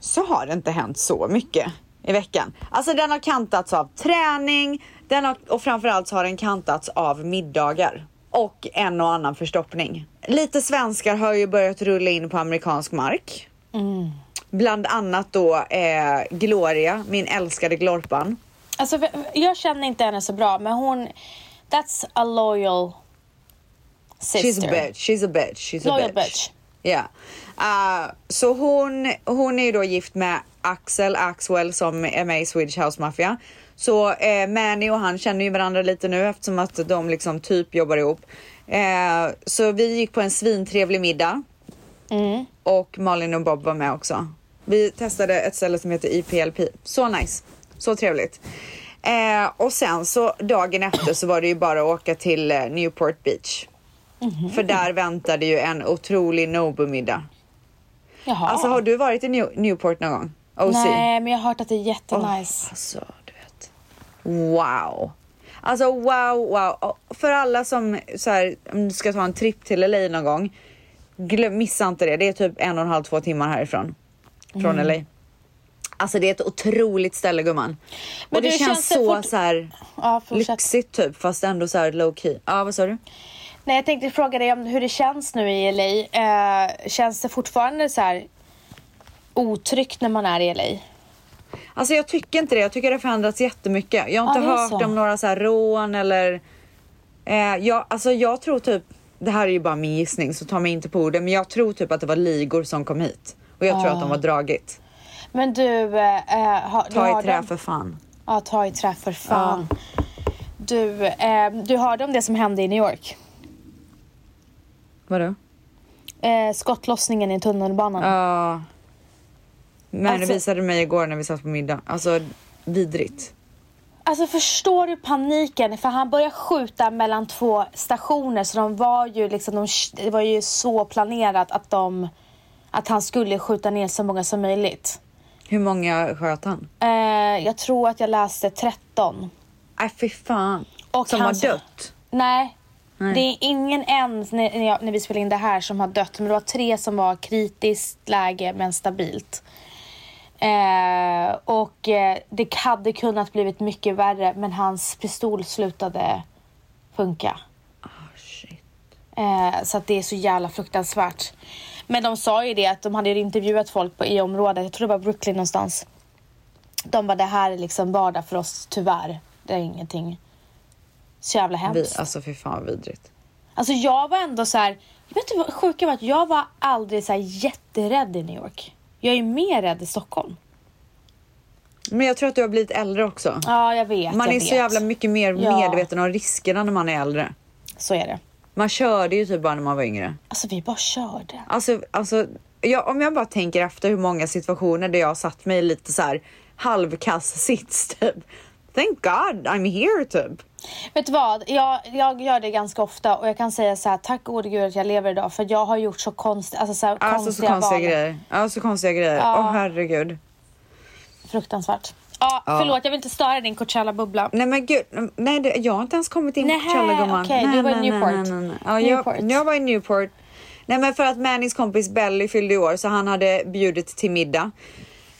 Speaker 2: så har det inte hänt så mycket i veckan. Alltså den har kantats av träning den har, och framförallt så har den kantats av middagar och en och annan förstoppning. Lite svenskar har ju börjat rulla in på amerikansk mark. Bland annat då eh, Gloria, min älskade Glorpan.
Speaker 1: Alltså, v- jag känner inte henne så bra, men hon... That's a loyal
Speaker 2: She's
Speaker 1: sister.
Speaker 2: a bitch, she's a bitch, she's a
Speaker 1: Loyal
Speaker 2: bitch.
Speaker 1: bitch.
Speaker 2: Ja. Eh, så hon, hon är ju då gift med Axel Axwell som är med i Swedish House Mafia. Så eh, Manny och han känner ju varandra lite nu eftersom att de liksom typ jobbar ihop. Eh, så vi gick på en svintrevlig middag.
Speaker 1: Mm.
Speaker 2: Och Malin och Bob var med också. Vi testade ett ställe som heter IPLP. Så nice. Så trevligt. Eh, och sen så dagen efter så var det ju bara att åka till eh, Newport Beach. Mm-hmm. För där väntade ju en otrolig Nobu-middag.
Speaker 1: Jaha.
Speaker 2: Alltså har du varit i New- Newport någon gång? OC?
Speaker 1: Nej, men jag har hört att det är jättenice.
Speaker 2: Alltså, du vet. Wow. Alltså wow, wow. Och För alla som så här, om du ska ta en tripp till LA någon gång,
Speaker 1: Mm.
Speaker 2: glöm, missa inte det. Det är typ en och en halv, två timmar härifrån. Från LA. Alltså det är ett otroligt ställe gumman.
Speaker 1: Men
Speaker 2: och det,
Speaker 1: du,
Speaker 2: känns,
Speaker 1: känns det
Speaker 2: så,
Speaker 1: fort-
Speaker 2: så här
Speaker 1: Ja, fortsätt.
Speaker 2: lyxigt typ fast ändå så här low key. Ja vad sa du?
Speaker 1: Nej, jag tänkte fråga dig om hur det känns nu i LA. Eh, känns det fortfarande så här otryggt när man är i LA?
Speaker 2: Alltså jag tycker inte det. Jag tycker det har förändrats jättemycket. Jag har
Speaker 1: Ja,
Speaker 2: inte
Speaker 1: det är
Speaker 2: hört
Speaker 1: så.
Speaker 2: om några så här rån eller... Eh, jag, alltså jag tror typ... Det här är ju bara min gissning så ta mig inte på orden. Men jag tror typ att det var ligor som kom hit. Och jag tror att de har dragit.
Speaker 1: Men du, eh, eh, har- du
Speaker 2: Ta
Speaker 1: har
Speaker 2: i trä
Speaker 1: dem-
Speaker 2: för fan.
Speaker 1: Ja, ta i trä för fan. Du, eh, du hörde om det som hände i New York?
Speaker 2: Vadå?
Speaker 1: Eh, skottlossningen i tunnelbanan.
Speaker 2: Ja. men
Speaker 1: Alltså-
Speaker 2: det visade mig igår när vi satt på middag. Alltså vidrigt.
Speaker 1: Alltså förstår du paniken? För han började skjuta mellan två stationer så de var ju liksom, de, det var ju så planerat att de, att han skulle skjuta ner så många som möjligt.
Speaker 2: Hur många sköt han?
Speaker 1: Eh, jag tror att jag läste 13.
Speaker 2: Nej Äh, fy fan.
Speaker 1: Och
Speaker 2: som
Speaker 1: hans-
Speaker 2: har dött.
Speaker 1: Nej. Det är ingen än när, när, jag, när vi spelade in det här som har dött. Men det var tre som var kritiskt läge men stabilt. Eh, och eh, det hade kunnat blivit mycket värre men hans pistol slutade funka.
Speaker 2: Shit.
Speaker 1: Eh, så att det är så jävla fruktansvärt. Men de sa ju det att de hade ju intervjuat folk på, i området, jag tror det var Brooklyn någonstans. De bara det här är liksom vardag för oss tyvärr. Det är ingenting så jävla
Speaker 2: Vi,
Speaker 1: hemskt.
Speaker 2: alltså fy fan vad vidrigt.
Speaker 1: Alltså jag var ändå så här, vet du vad sjuka var? Att jag var aldrig så här jätterädd i New York. Jag är ju mer rädd i Stockholm.
Speaker 2: Men jag tror att du har blivit äldre också.
Speaker 1: Ja, jag vet.
Speaker 2: Man
Speaker 1: jag
Speaker 2: är
Speaker 1: vet.
Speaker 2: så jävla mycket mer
Speaker 1: Ja.
Speaker 2: medveten om riskerna när man är äldre.
Speaker 1: Så är det.
Speaker 2: Man körde ju typ bara när man var yngre.
Speaker 1: Alltså vi bara körde.
Speaker 2: Alltså, alltså jag, om jag bara tänker efter hur många situationer där jag har satt mig i lite så här halvkass sits typ. Thank God I'm here typ.
Speaker 1: Vet du vad? Jag, jag gör det ganska ofta och jag kan säga så här, tack gode gud att jag lever idag för jag har gjort så, konst, alltså så här,
Speaker 2: Alltså så
Speaker 1: konstiga,
Speaker 2: konstiga
Speaker 1: val.
Speaker 2: grejer. Ja, så konstiga grejer. Åh herregud.
Speaker 1: Fruktansvärt. Ja, förlåt jag vill inte störa din Coachella-bubbla.
Speaker 2: Nej men gud, mm, nej det, jag har inte ens kommit in på
Speaker 1: Nähä,
Speaker 2: Coachella gumman.
Speaker 1: okej, du
Speaker 2: Nej,
Speaker 1: var i
Speaker 2: nej, nej,
Speaker 1: Newport.
Speaker 2: nej, nej. Ja, jag,
Speaker 1: Newport.
Speaker 2: jag var i Newport. Nej men för att Mannys kompis Belly fyllde i år så han hade bjudit till middag.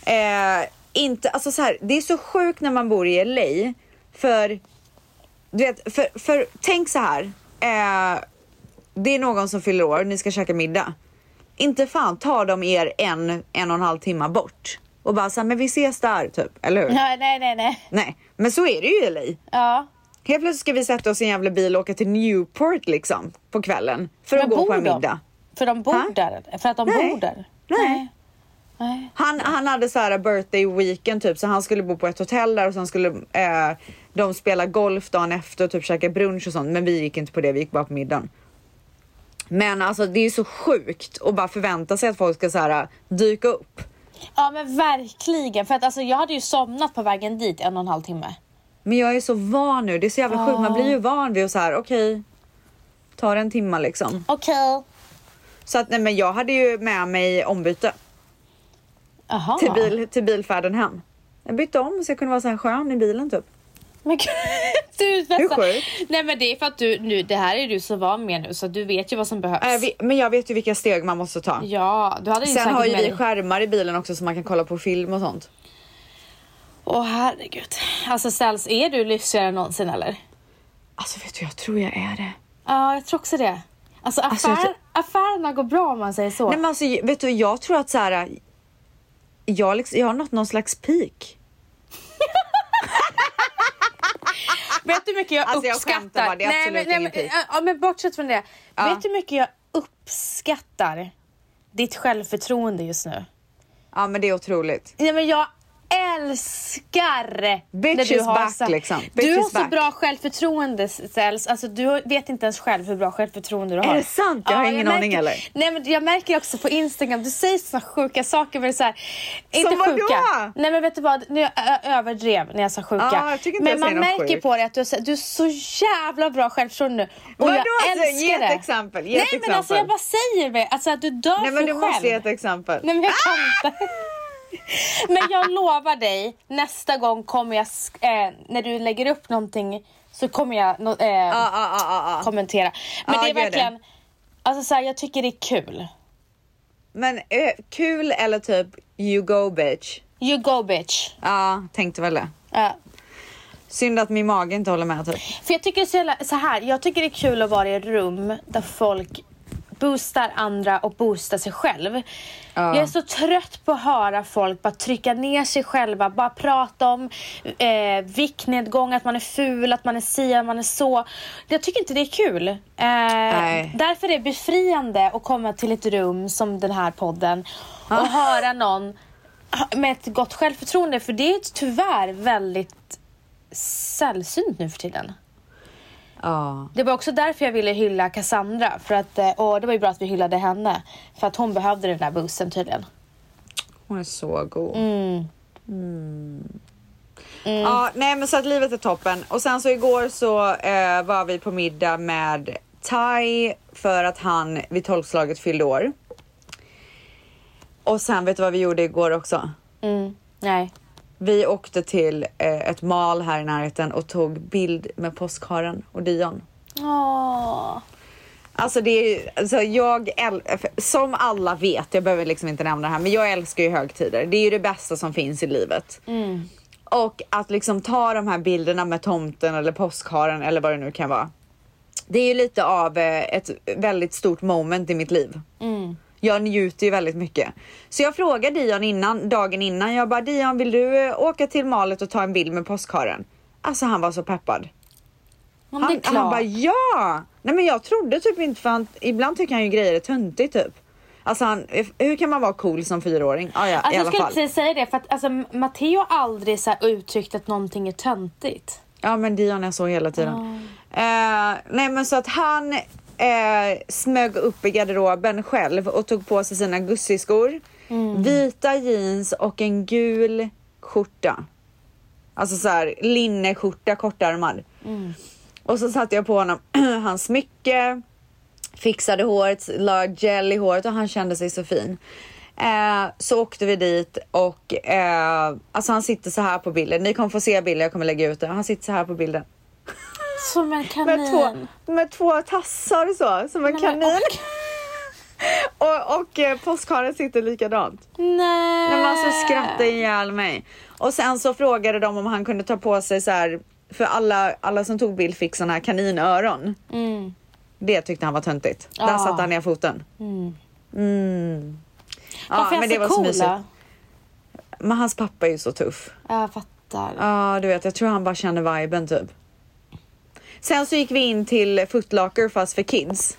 Speaker 2: Eh, inte, alltså så här, det är så sjukt när man bor i LA. För, du vet, för, för tänk så här. Eh, det är någon som fyller år, ni ska käka middag. Inte fan tar de er en, en och en halv timme bort. Och bara såhär, men vi ses där typ, eller hur?
Speaker 1: Nej, nej, nej, nej.
Speaker 2: Nej, men så är det ju i LA.
Speaker 1: Ja.
Speaker 2: Helt plötsligt ska vi sätta oss i en jävla bil och åka till Newport liksom på kvällen för att gå på en middag.
Speaker 1: de? För de bor
Speaker 2: Ha?
Speaker 1: där? eller? För att de
Speaker 2: Nej.
Speaker 1: bor där?
Speaker 2: Nej.
Speaker 1: Nej.
Speaker 2: Han, han hade så här birthday weekend typ så han skulle bo på ett hotell där och sen skulle eh, de spela golf dagen efter och typ käka brunch och sånt. Men vi gick inte på det, vi gick bara på middagen. Men alltså det är ju så sjukt att bara förvänta sig att folk ska så här eh, dyka upp.
Speaker 1: Ja men verkligen. För att alltså, jag hade ju somnat på vägen dit en och en halv timme.
Speaker 2: Men jag är så van nu, det är så jävla sjukt. Man blir ju van vid att så här okej, tar en timma liksom.
Speaker 1: Okej.
Speaker 2: Så att nej men jag hade ju med mig ombyte.
Speaker 1: Jaha.
Speaker 2: till, bil, till bilfärden hem. Jag bytte om så jag kunde vara så här skön i bilen typ.
Speaker 1: Men gud, du
Speaker 2: Hur
Speaker 1: bästa.
Speaker 2: sjukt?
Speaker 1: Nej men det är för att du nu, det här är du så van med nu så du vet ju vad som behövs.
Speaker 2: Äh, vi, men jag vet ju vilka steg man måste ta.
Speaker 1: Ja, du hade ju
Speaker 2: Sen
Speaker 1: säkert
Speaker 2: har ju
Speaker 1: med
Speaker 2: vi
Speaker 1: dig.
Speaker 2: skärmar i bilen också så man kan kolla på film och sånt.
Speaker 1: Åh herregud. Alltså Ställs, är du lyxigare än någonsin eller?
Speaker 2: Alltså vet du, jag tror jag är det.
Speaker 1: Ja, jag tror också det. Alltså,
Speaker 2: Alltså,
Speaker 1: affär,
Speaker 2: jag
Speaker 1: affärerna går bra om man säger så.
Speaker 2: Nej men alltså vet du, jag tror att så här. Jag, liksom, jag har nått någon slags peak.
Speaker 1: Vet du hur mycket jag
Speaker 2: Alltså, jag
Speaker 1: uppskattar?
Speaker 2: skämtar bara, det är absolut
Speaker 1: men,
Speaker 2: ingen
Speaker 1: men,
Speaker 2: pik.
Speaker 1: ja, men bortsett från det. Vet du hur mycket jag uppskattar ditt självförtroende just nu?
Speaker 2: Ja men det är otroligt.
Speaker 1: Nej men jag älskar
Speaker 2: Bitch
Speaker 1: när du
Speaker 2: is
Speaker 1: har
Speaker 2: back,
Speaker 1: så,
Speaker 2: liksom.
Speaker 1: Du
Speaker 2: Bitch
Speaker 1: har
Speaker 2: is
Speaker 1: så
Speaker 2: back.
Speaker 1: bra självförtroende Ställs. Alltså du har- vet inte ens själv hur bra självförtroende du har.
Speaker 2: det sant? Jag har ingen
Speaker 1: märker,
Speaker 2: aning, eller?
Speaker 1: Nej men jag märker också på Instagram, du säger såna sjuka saker men det är så här, inte
Speaker 2: vadå?
Speaker 1: sjuka. Nej men vet du vad, nu jag ö- överdrev när jag sa sjuka.
Speaker 2: Ja, jag tycker inte
Speaker 1: men
Speaker 2: jag
Speaker 1: man
Speaker 2: säger något
Speaker 1: märker
Speaker 2: sjukt.
Speaker 1: på dig att du, är så- du är så jävla bra självförtroende nu. Och
Speaker 2: Vadå?
Speaker 1: jag
Speaker 2: Alltså,
Speaker 1: älskar
Speaker 2: ge ett
Speaker 1: det.
Speaker 2: exempel, ge
Speaker 1: Nej
Speaker 2: ett
Speaker 1: men alltså
Speaker 2: exempel.
Speaker 1: jag bara säger det, alltså att du dör
Speaker 2: Nej men
Speaker 1: för
Speaker 2: du
Speaker 1: själv.
Speaker 2: måste ge ett exempel.
Speaker 1: Nej men jag kan inte. Men jag lovar dig, nästa gång kommer jag, sk- eh, när du lägger upp någonting så kommer jag no- eh,
Speaker 2: Ja, ja, ja, ja, ja.
Speaker 1: kommentera. Men
Speaker 2: Ah. Ja,
Speaker 1: det är
Speaker 2: gör det.
Speaker 1: verkligen, alltså så här, jag tycker det är kul.
Speaker 2: Men eh, kul eller typ you go bitch.
Speaker 1: You go bitch.
Speaker 2: Ja, tänkte väl det.
Speaker 1: Ja.
Speaker 2: Synd att min mage inte håller med typ.
Speaker 1: För jag tycker så, jävla, så här, jag tycker det är kul att vara i ett rum där folk boostar andra och boostar sig själv. Jag är så trött på att höra folk bara trycka ner sig själva, bara prata om eh, viktnedgång, att man är ful, att man är si, att man är så. Jag tycker inte det är kul. Eh, därför är det befriande att komma till ett rum som den här podden och höra någon ha- med ett gott självförtroende, för det är tyvärr väldigt sällsynt nu för tiden.
Speaker 2: Ja.
Speaker 1: Det var också därför jag ville hylla Cassandra. För att, eh, och det var ju bra att vi hyllade henne. För att hon behövde den där bussen tydligen.
Speaker 2: Hon är så god. Mm. Ja, nej men så att livet är toppen. Och sen så igår så eh, var vi på middag med Tai för att han vid tolvslaget fyllde år. Och sen vet du vad vi gjorde igår också?
Speaker 1: Mm. Nej.
Speaker 2: Vi åkte till eh, ett mal här i närheten och tog bild med påskharen och Dion.
Speaker 1: Åh.
Speaker 2: Alltså det är ju, alltså jag äl- som alla vet, jag behöver liksom inte nämna det här, men jag älskar ju högtider. Det är ju det bästa som finns i livet. Och att liksom ta de här bilderna med tomten eller påskharen eller vad det nu kan vara. Det är ju lite av eh, ett väldigt stort moment i mitt liv.
Speaker 1: Mm.
Speaker 2: Jag njuter ju väldigt mycket. Så jag frågade Dion innan, dagen innan, jag bara Dion vill du eh, åka till malet och ta en bild med påskharen? Alltså han var så peppad.
Speaker 1: Men det är
Speaker 2: Han,
Speaker 1: klart.
Speaker 2: han bara ja! Nej men jag trodde typ inte för han, ibland tycker han ju grejer är töntigt typ. Alltså han, hur kan man vara cool som fyraåring? Ah, ja, i
Speaker 1: alltså, jag
Speaker 2: alla
Speaker 1: skulle
Speaker 2: fall.
Speaker 1: precis säga det. För att alltså, Matteo har aldrig så här uttryckt att någonting är töntigt.
Speaker 2: Ja men Dion är så hela tiden. Eh, nej men så att han eh, smög upp i garderoben själv och tog på sig sina gussiskor. Vita jeans och en gul skjorta. Alltså så här linneskjorta, kortärmad. Och så satte jag på honom hans smycke, fixade håret, la gel i håret och han kände sig så fin. Eh, så åkte vi dit och eh, alltså han sitter så här på bilden. Ni kommer få se bilden, jag kommer lägga ut den. Han sitter så här på bilden.
Speaker 1: Som en kanin.
Speaker 2: Med två, med två tassar så, som en
Speaker 1: Nej, men
Speaker 2: kanin.
Speaker 1: och-
Speaker 2: Och, och eh, påskharen sitter likadant.
Speaker 1: Nej.
Speaker 2: Nej, men alltså skrattade ihjäl mig. Och sen så frågade de om han kunde ta på sig så här. För alla, alla som tog bild fick såna här kaninöron.
Speaker 1: Mm.
Speaker 2: Det tyckte han var töntigt. Där
Speaker 1: Ja.
Speaker 2: satte han ner foten. Mm. Ja,
Speaker 1: Varför är
Speaker 2: men
Speaker 1: han
Speaker 2: det var
Speaker 1: så
Speaker 2: så
Speaker 1: cool
Speaker 2: mysigt.
Speaker 1: då?
Speaker 2: Men hans pappa är ju så tuff.
Speaker 1: Ja, Jag fattar.
Speaker 2: Ja, du vet, jag tror han bara känner viben typ. Sen så gick vi in till Footlocker fast för kids.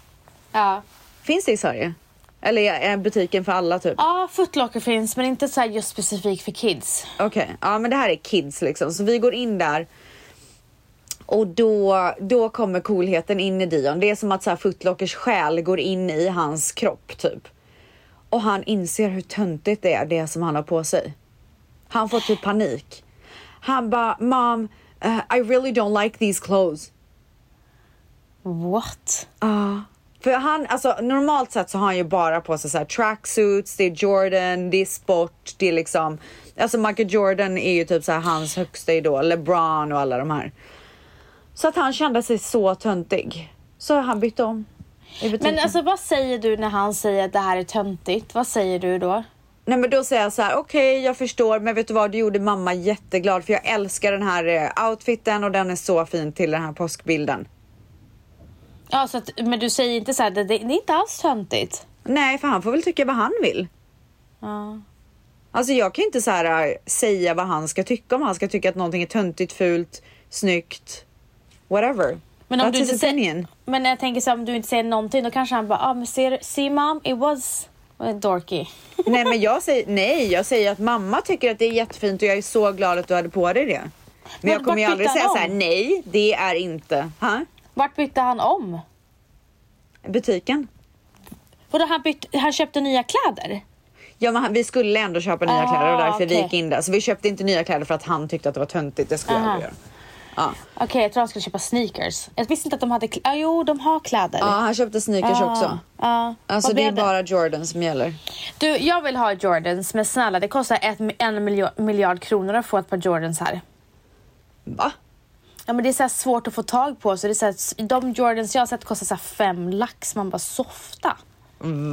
Speaker 1: Ja.
Speaker 2: Finns det i Sverige? Eller är butiken för alla typ?
Speaker 1: Ja, footlocker finns men inte så här just specifikt för kids.
Speaker 2: Okej, ja men det här är kids liksom. Så vi går in där och då, då kommer coolheten in i Dion. Det är som att så här Footlockers själ går in i hans kropp typ. Och han inser hur töntigt det är, det som han har på sig. Han får typ panik. Han bara, mom, eh, I really don't like these clothes.
Speaker 1: What?
Speaker 2: För han, alltså normalt sett så har han ju bara på sig så här tracksuits, det är Jordan, det är sport, det är liksom Alltså Michael Jordan är ju typ så här hans högsta idol, LeBron och alla de här. Så att han kände sig så töntig. Så han bytte om i butiken.
Speaker 1: Men alltså vad säger du när han säger att det här är töntigt? Vad säger du då?
Speaker 2: Nej men då säger jag så här: okej jag förstår men vet du vad du gjorde mamma jätteglad för jag älskar den här eh, outfiten och den är så fin till den här påskbilden.
Speaker 1: Ja, så att, men du säger inte så här, det, det är inte alls töntigt.
Speaker 2: Nej för han får väl tycka vad han vill.
Speaker 1: Ja.
Speaker 2: Alltså jag kan ju inte så här äh, säga vad han ska tycka om han ska tycka att någonting är töntigt, fult, snyggt, whatever.
Speaker 1: Men om
Speaker 2: That's
Speaker 1: du
Speaker 2: his
Speaker 1: inte säger,
Speaker 2: opinion.
Speaker 1: men jag tänker så här, om du inte säger någonting då kanske han bara, ah, men ser, see mom, it was eh, dorky.
Speaker 2: Nej men jag säger nej, jag säger att mamma tycker att det är jättefint och jag är så glad att du hade på dig det. Men,
Speaker 1: Men
Speaker 2: jag kommer ju
Speaker 1: vart
Speaker 2: aldrig
Speaker 1: bytte
Speaker 2: säga
Speaker 1: han
Speaker 2: så här
Speaker 1: om?
Speaker 2: nej, det är inte. Ha?
Speaker 1: Vart bytte han om?
Speaker 2: Butiken?
Speaker 1: Vadå, han, bytte, han köpte nya kläder?
Speaker 2: Ja men han- vi skulle ändå köpa nya
Speaker 1: Ah,
Speaker 2: kläder och därför vi
Speaker 1: okej.
Speaker 2: gick in där. Så vi köpte inte nya kläder för att han tyckte att det var töntigt, det skulle jag
Speaker 1: Aha.
Speaker 2: aldrig göra.
Speaker 1: Okej, jag tror han skulle köpa sneakers. Jag visste inte att de hade kläder. Ah, jo, de har kläder.
Speaker 2: Ja han köpte sneakers också.
Speaker 1: Ja.
Speaker 2: Alltså
Speaker 1: Vad
Speaker 2: det är
Speaker 1: blev
Speaker 2: bara Jordan som gäller. du
Speaker 1: Du, jag vill ha Jordans, men snälla det kostar ett, en miljo- miljard kronor att få ett par Jordans här.
Speaker 2: Va?
Speaker 1: Ja, men det är så här svårt att få tag på, så det är så här, de Jordans jag har sett kostar så här fem lax, man bara softa.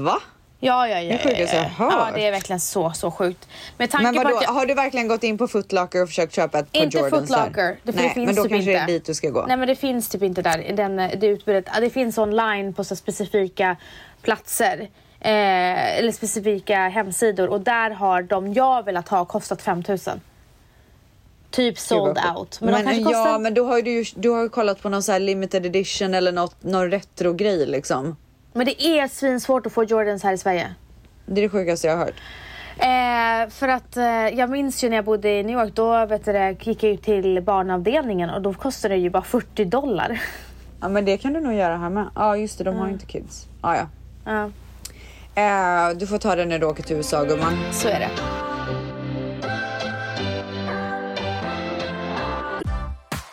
Speaker 2: Va?
Speaker 1: Ja, ja, ja.
Speaker 2: Det är sjukaste jag har
Speaker 1: ja,
Speaker 2: hört.
Speaker 1: det är verkligen så, så sjukt. Med tanke
Speaker 2: Men
Speaker 1: på
Speaker 2: vadå,
Speaker 1: att jag...
Speaker 2: har du verkligen gått in på Footlocker och försökt köpa ett par
Speaker 1: Inte
Speaker 2: Jordans
Speaker 1: Foot Locker.
Speaker 2: där?
Speaker 1: Det
Speaker 2: Nej,
Speaker 1: finns
Speaker 2: men då
Speaker 1: typ
Speaker 2: kanske
Speaker 1: inte.
Speaker 2: det är dit du ska gå.
Speaker 1: Nej, men det finns typ inte där. i Den, eh, det utbudet. Ja, Det finns online på så specifika platser. Eh, eller specifika hemsidor. Och där har de jag velat ha kostat 5000. Typ
Speaker 2: Gud,
Speaker 1: sold
Speaker 2: vad sjukt.
Speaker 1: out. Men, de
Speaker 2: Men,
Speaker 1: kanske
Speaker 2: ja,
Speaker 1: kostar... men...
Speaker 2: men då har ju du, ju- du har ju kollat på någon så här limited edition eller något, någon retro-grej liksom.
Speaker 1: det är svinsvårt att få Jordans här i Sverige.
Speaker 2: Det är det sjukaste jag har hört.
Speaker 1: Eh, för att eh, jag minns ju när jag bodde i New York, då vet du, det, gick jag ju till barnavdelningen och då kostade det ju bara 40 dollar.
Speaker 2: Ja men det kan du nog göra här med. Ja just det, de har
Speaker 1: Mm.
Speaker 2: ju inte kids. Ja ja.
Speaker 1: ja,
Speaker 2: Eh, du får ta det när du åker till USA gumman.
Speaker 1: så är det.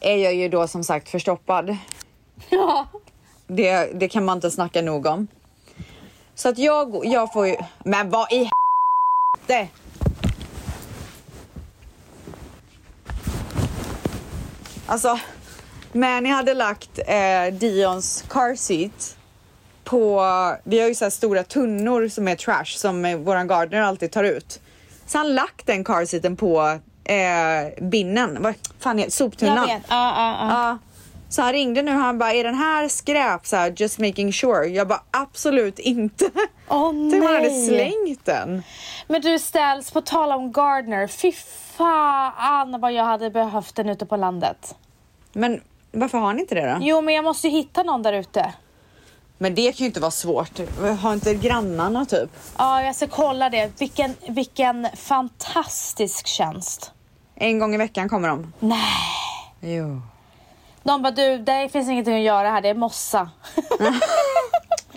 Speaker 2: är jag ju då som sagt förstoppad.
Speaker 1: Ja.
Speaker 2: Det, det kan man inte snacka nog om. Så att jag, går- jag får ju... Men vad i helvete! Alltså, Mani hade lagt eh, Dions car seat på... Vi har ju så här stora tunnor som är trash som eh, våran gardener alltid tar ut. Så han lagt den car seaten på eh, binnen. Vad fan heter Soptunnan.
Speaker 1: Jag vet. Ja, ja, ja.
Speaker 2: Ja. Så han ringde nu han bara, är den här skräp? Så här, just making sure. Jag bara, absolut inte.
Speaker 1: Åh,
Speaker 2: Tänk om han hade
Speaker 1: nej.
Speaker 2: slängt den.
Speaker 1: Men du ställs på tal om Gardner. Fy fan vad jag hade behövt den ute på landet.
Speaker 2: Men varför har han inte det då?
Speaker 1: Jo, men jag måste ju hitta någon där ute.
Speaker 2: Men det kan ju inte vara svårt. Har inte grannarna typ?
Speaker 1: Ja, jag ska kolla det. Vilken, vilken fantastisk tjänst.
Speaker 2: En gång i veckan kommer de. Nej. Jo.
Speaker 1: De bara, du, det finns ingenting att göra här. Det är mossa.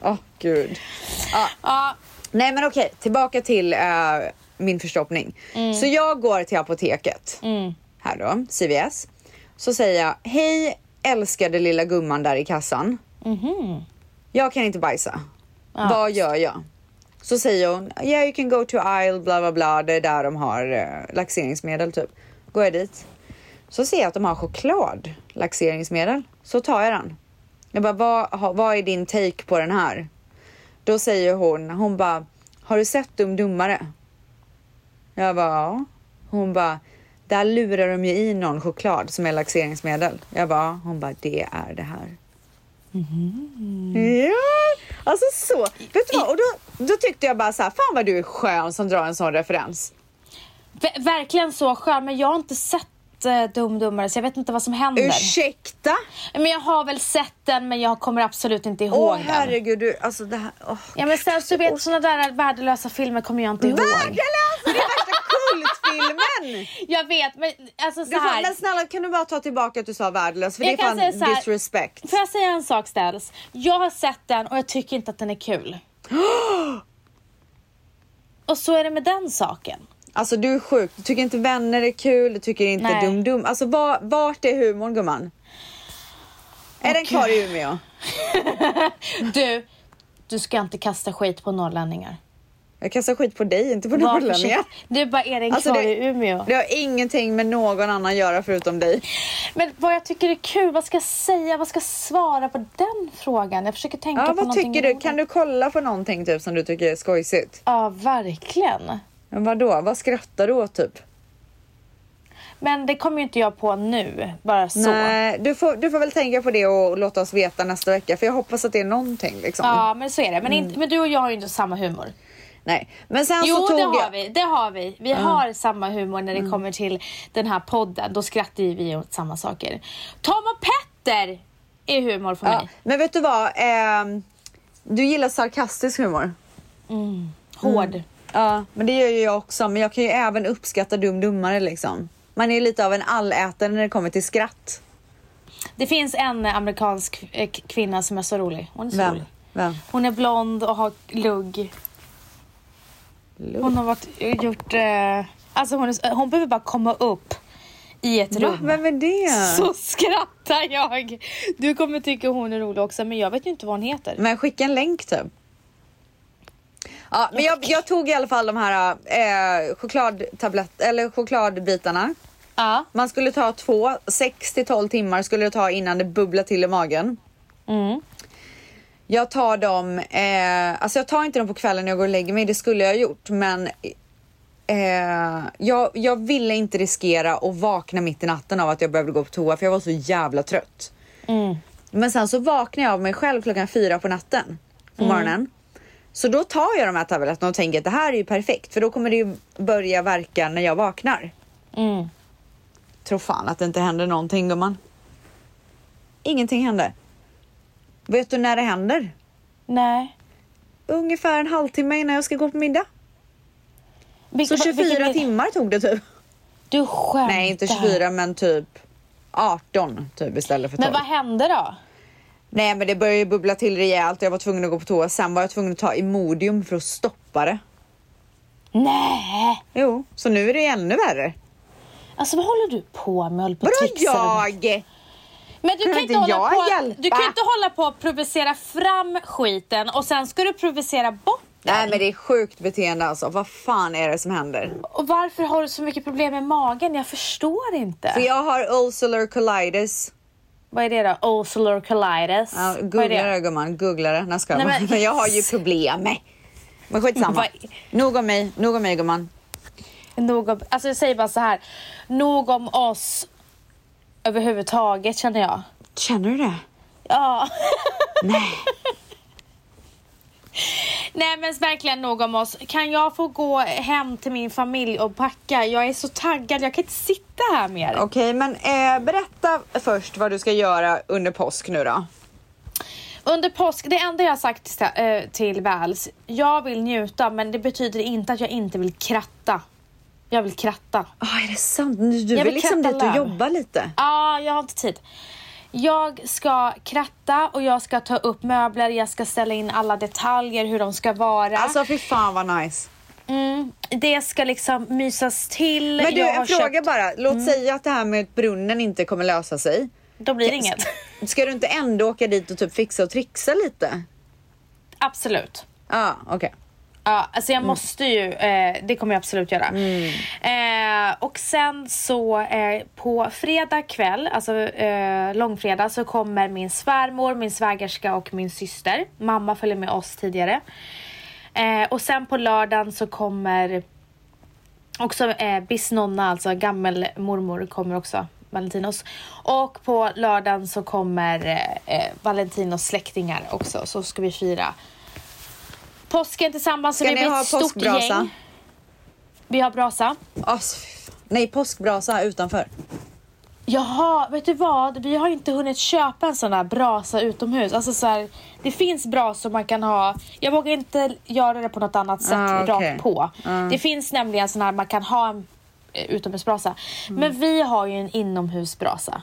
Speaker 2: Åh gud.
Speaker 1: ja,
Speaker 2: Nej men okej, tillbaka till eh, min förstoppning. Så jag går till apoteket. Här då, CVS. Så säger jag, hej älskade lilla gumman där i kassan. Jag kan inte bajsa. Vad gör jag? Så säger hon, yeah you can go to aisle bla bla bla, det är där de har eh, laxeringsmedel typ. Går jag dit. Så ser jag att de har choklad laxeringsmedel. Så tar jag den. Jag bara, vad, ha- vad är din take på den här? Då säger hon, hon bara, har du sett Dum Dummare? Jag bara, ja. Hon bara, där lurar de ju i någon choklad som är laxeringsmedel. Jag bara, ja. hon bara, det är det här.
Speaker 1: Mhm.
Speaker 2: Ja, alltså så. Vet du vad? Och då, då tyckte jag bara så här, fan vad du är skön som drar en sån referens.
Speaker 1: Ver- verkligen så skön, men jag har inte sett eh, Dum Dummare så jag vet inte vad som händer.
Speaker 2: Ursäkta?
Speaker 1: Men jag har väl sett den men jag kommer absolut inte ihåg
Speaker 2: Åh
Speaker 1: den.
Speaker 2: herregud, du, alltså det här. åh.
Speaker 1: Ja men sen så vet sådana där värdelösa filmer kommer jag inte ihåg.
Speaker 2: Värdelös! Det är värsta kultfilmen!
Speaker 1: Jag vet men alltså så
Speaker 2: Du får,
Speaker 1: här.
Speaker 2: men snälla kan du bara ta tillbaka att du sa värdelös? För
Speaker 1: Jag
Speaker 2: det är
Speaker 1: kan säga
Speaker 2: fan
Speaker 1: så här-
Speaker 2: disrespect.
Speaker 1: Får jag säga en sak Ställs? Jag har sett den och jag tycker inte att den är kul. och så är det med den saken.
Speaker 2: Alltså du är sjuk, du tycker inte vänner är kul, du tycker inte
Speaker 1: Nej.
Speaker 2: dum dum. Alltså var, vart är humorn gumman? Är den kvar i Umeå?
Speaker 1: Du, du ska inte kasta skit på norrlänningar.
Speaker 2: Jag kastar skit på dig, inte på
Speaker 1: Var
Speaker 2: norrlänningar.
Speaker 1: försiktig. Du bara, är den
Speaker 2: Alltså,
Speaker 1: kvar
Speaker 2: det-
Speaker 1: i Umeå?
Speaker 2: Det har ingenting med någon annan att göra förutom dig.
Speaker 1: Men vad jag tycker är kul, vad ska jag säga, vad ska jag svara på den frågan? Jag försöker tänka
Speaker 2: Ja,
Speaker 1: på
Speaker 2: vad
Speaker 1: någonting
Speaker 2: tycker du?
Speaker 1: roligt.
Speaker 2: Kan du kolla på någonting typ som du tycker är skojsigt?
Speaker 1: Ja, verkligen.
Speaker 2: Men vadå? Vad skrattar du åt typ?
Speaker 1: Men det kommer ju inte jag på nu, bara så.
Speaker 2: Nej, du får, du får väl tänka på det och låta oss veta nästa vecka för jag hoppas att det är någonting liksom.
Speaker 1: Ja, men så är det. Men, inte, men du och jag har ju inte samma humor.
Speaker 2: Nej, men sen
Speaker 1: jo,
Speaker 2: så tog
Speaker 1: det har
Speaker 2: jag...
Speaker 1: vi. Det har vi. Vi har samma humor när det
Speaker 2: Mm.
Speaker 1: kommer till den här podden. Då skrattar ju vi åt samma saker. Tom och Petter är humor för
Speaker 2: Ja,
Speaker 1: mig.
Speaker 2: men vet du vad? Ehm, du gillar sarkastisk humor.
Speaker 1: Hård.
Speaker 2: Mm. Ja, men det gör ju jag också. Men jag kan ju även uppskatta dum dummare liksom. Man är lite av en allätare när det kommer till skratt.
Speaker 1: Det finns en eh, amerikansk eh, k- kvinna som är så rolig. Hon är så
Speaker 2: Vem?
Speaker 1: rolig.
Speaker 2: Vem?
Speaker 1: Hon är blond och har lugg. Hon har varit, gjort... Eh, alltså hon, är- hon behöver bara komma upp i ett
Speaker 2: Va?
Speaker 1: rum.
Speaker 2: Vem är det?
Speaker 1: Så skrattar jag! Du kommer tycka hon är rolig också, men jag vet ju inte vad hon heter.
Speaker 2: Men skicka en länk typ. Ja, men jag, jag tog i alla fall de här eh, chokladtablett, eller chokladbitarna.
Speaker 1: Ja.
Speaker 2: Man skulle ta två, 6 till 12 timmar skulle det ta innan det bubblar till i magen.
Speaker 1: Mm.
Speaker 2: Jag tar dem, eh, alltså jag tar inte dem på kvällen när jag går och lägger mig, det skulle jag ha gjort men eh, jag, jag ville inte riskera att vakna mitt i natten av att jag behövde gå på toa för jag var så jävla trött. Men sen så vaknar jag av mig själv klockan fyra på natten på morgonen. Så då tar jag de här tabletterna och tänker att det här är ju perfekt för då kommer det ju börja verka när jag vaknar.
Speaker 1: Mm.
Speaker 2: Tror fan att det inte händer någonting gumman. Ingenting händer. Vet du när det händer?
Speaker 1: Nej.
Speaker 2: Ungefär en halvtimme innan jag ska gå på middag. Så
Speaker 1: Vilken-
Speaker 2: 24
Speaker 1: vilken-
Speaker 2: timmar tog det typ.
Speaker 1: Du skämtar.
Speaker 2: Nej inte 24 men typ 18 typ istället för 12.
Speaker 1: Men vad hände då?
Speaker 2: Nej men det började ju bubbla till rejält och jag var tvungen att gå på toa. Sen var jag tvungen att ta Imodium för att stoppa det.
Speaker 1: Nej.
Speaker 2: Jo, så nu är det ännu värre.
Speaker 1: Alltså vad håller du på med? Håller på och
Speaker 2: Vadå
Speaker 1: trixar och-
Speaker 2: jag?
Speaker 1: Men du
Speaker 2: Kan
Speaker 1: kan,
Speaker 2: inte
Speaker 1: inte hålla
Speaker 2: jag
Speaker 1: på,
Speaker 2: hjälpa?
Speaker 1: du kan inte hålla på att provocera fram skiten och sen ska du provocera bort
Speaker 2: Nej men det är sjukt beteende alltså. Vad fan är det som händer?
Speaker 1: Och varför har du så mycket problem med magen? Jag förstår inte.
Speaker 2: För jag har ulcerar colitis.
Speaker 1: Vad är det då? Ocelor colitis?
Speaker 2: Ja,
Speaker 1: Vad är
Speaker 2: googla det
Speaker 1: det?
Speaker 2: gumman, googla det. Nej, ska
Speaker 1: Nej,
Speaker 2: men...
Speaker 1: men-
Speaker 2: men jag har ju problem. Men skitsamma.
Speaker 1: Vad-
Speaker 2: Nog om mig, nog om mig gumman.
Speaker 1: Nog om, alltså jag säger bara så här. Nog om oss överhuvudtaget känner jag.
Speaker 2: Känner du det?
Speaker 1: Ja. Nej. Nej men verkligen nog om oss. Kan jag få gå hem till min familj och packa? Jag är så taggad, jag kan inte sitta här mer.
Speaker 2: Okej men eh, berätta först vad du ska göra under påsk nu då.
Speaker 1: Under påsk, det enda jag har sagt till, eh, till Vals, jag vill njuta men det betyder inte att jag inte vill kratta. Jag vill kratta. Ja,
Speaker 2: Oh, är det sant? Du du
Speaker 1: Jag
Speaker 2: vill
Speaker 1: vill
Speaker 2: liksom
Speaker 1: kratta
Speaker 2: dit och
Speaker 1: löv.
Speaker 2: jobba lite?
Speaker 1: ah, jag har inte tid. Jag ska kratta och jag ska ta upp möbler, jag ska ställa in alla detaljer, hur de ska vara.
Speaker 2: Alltså fy fan vad nice.
Speaker 1: mm, det ska liksom mysas till.
Speaker 2: Men du
Speaker 1: jag
Speaker 2: en
Speaker 1: har
Speaker 2: fråga
Speaker 1: köpt- Mm.
Speaker 2: bara. Låt säga att det här med brunnen inte kommer lösa sig.
Speaker 1: Då blir det inget.
Speaker 2: Ska du inte ändå åka dit och typ fixa och trixa lite?
Speaker 1: Absolut.
Speaker 2: Ja, okej.
Speaker 1: Ja, alltså jag måste ju, eh, det kommer jag absolut göra. Eh, och sen så eh, på fredag kväll, alltså eh, långfredag, så kommer min svärmor, min svägerska och min syster. Mamma följer med oss tidigare. Eh, och sen på lördagen så kommer också eh, bisnonna, alltså gammelmormor, kommer också. Valentinos. Och på lördagen så kommer eh, eh, Valentinos släktingar också, så ska vi fira påsken tillsammans. Så
Speaker 2: Ska
Speaker 1: det
Speaker 2: ni
Speaker 1: blir
Speaker 2: ha
Speaker 1: ett stort
Speaker 2: påskbrasa?
Speaker 1: gäng. Vi har brasa.
Speaker 2: Alltså, fy fan. nej, påskbrasa utanför.
Speaker 1: Jaha, vet du vad? Vi har inte hunnit köpa en sån där brasa utomhus. Alltså så här, det finns brasor man kan ha. Jag vågar inte göra det på något annat sätt
Speaker 2: Ah, okej.
Speaker 1: rakt på. Det finns nämligen sån här man kan ha en eh, utomhusbrasa.
Speaker 2: Mm.
Speaker 1: Men vi har ju en inomhusbrasa.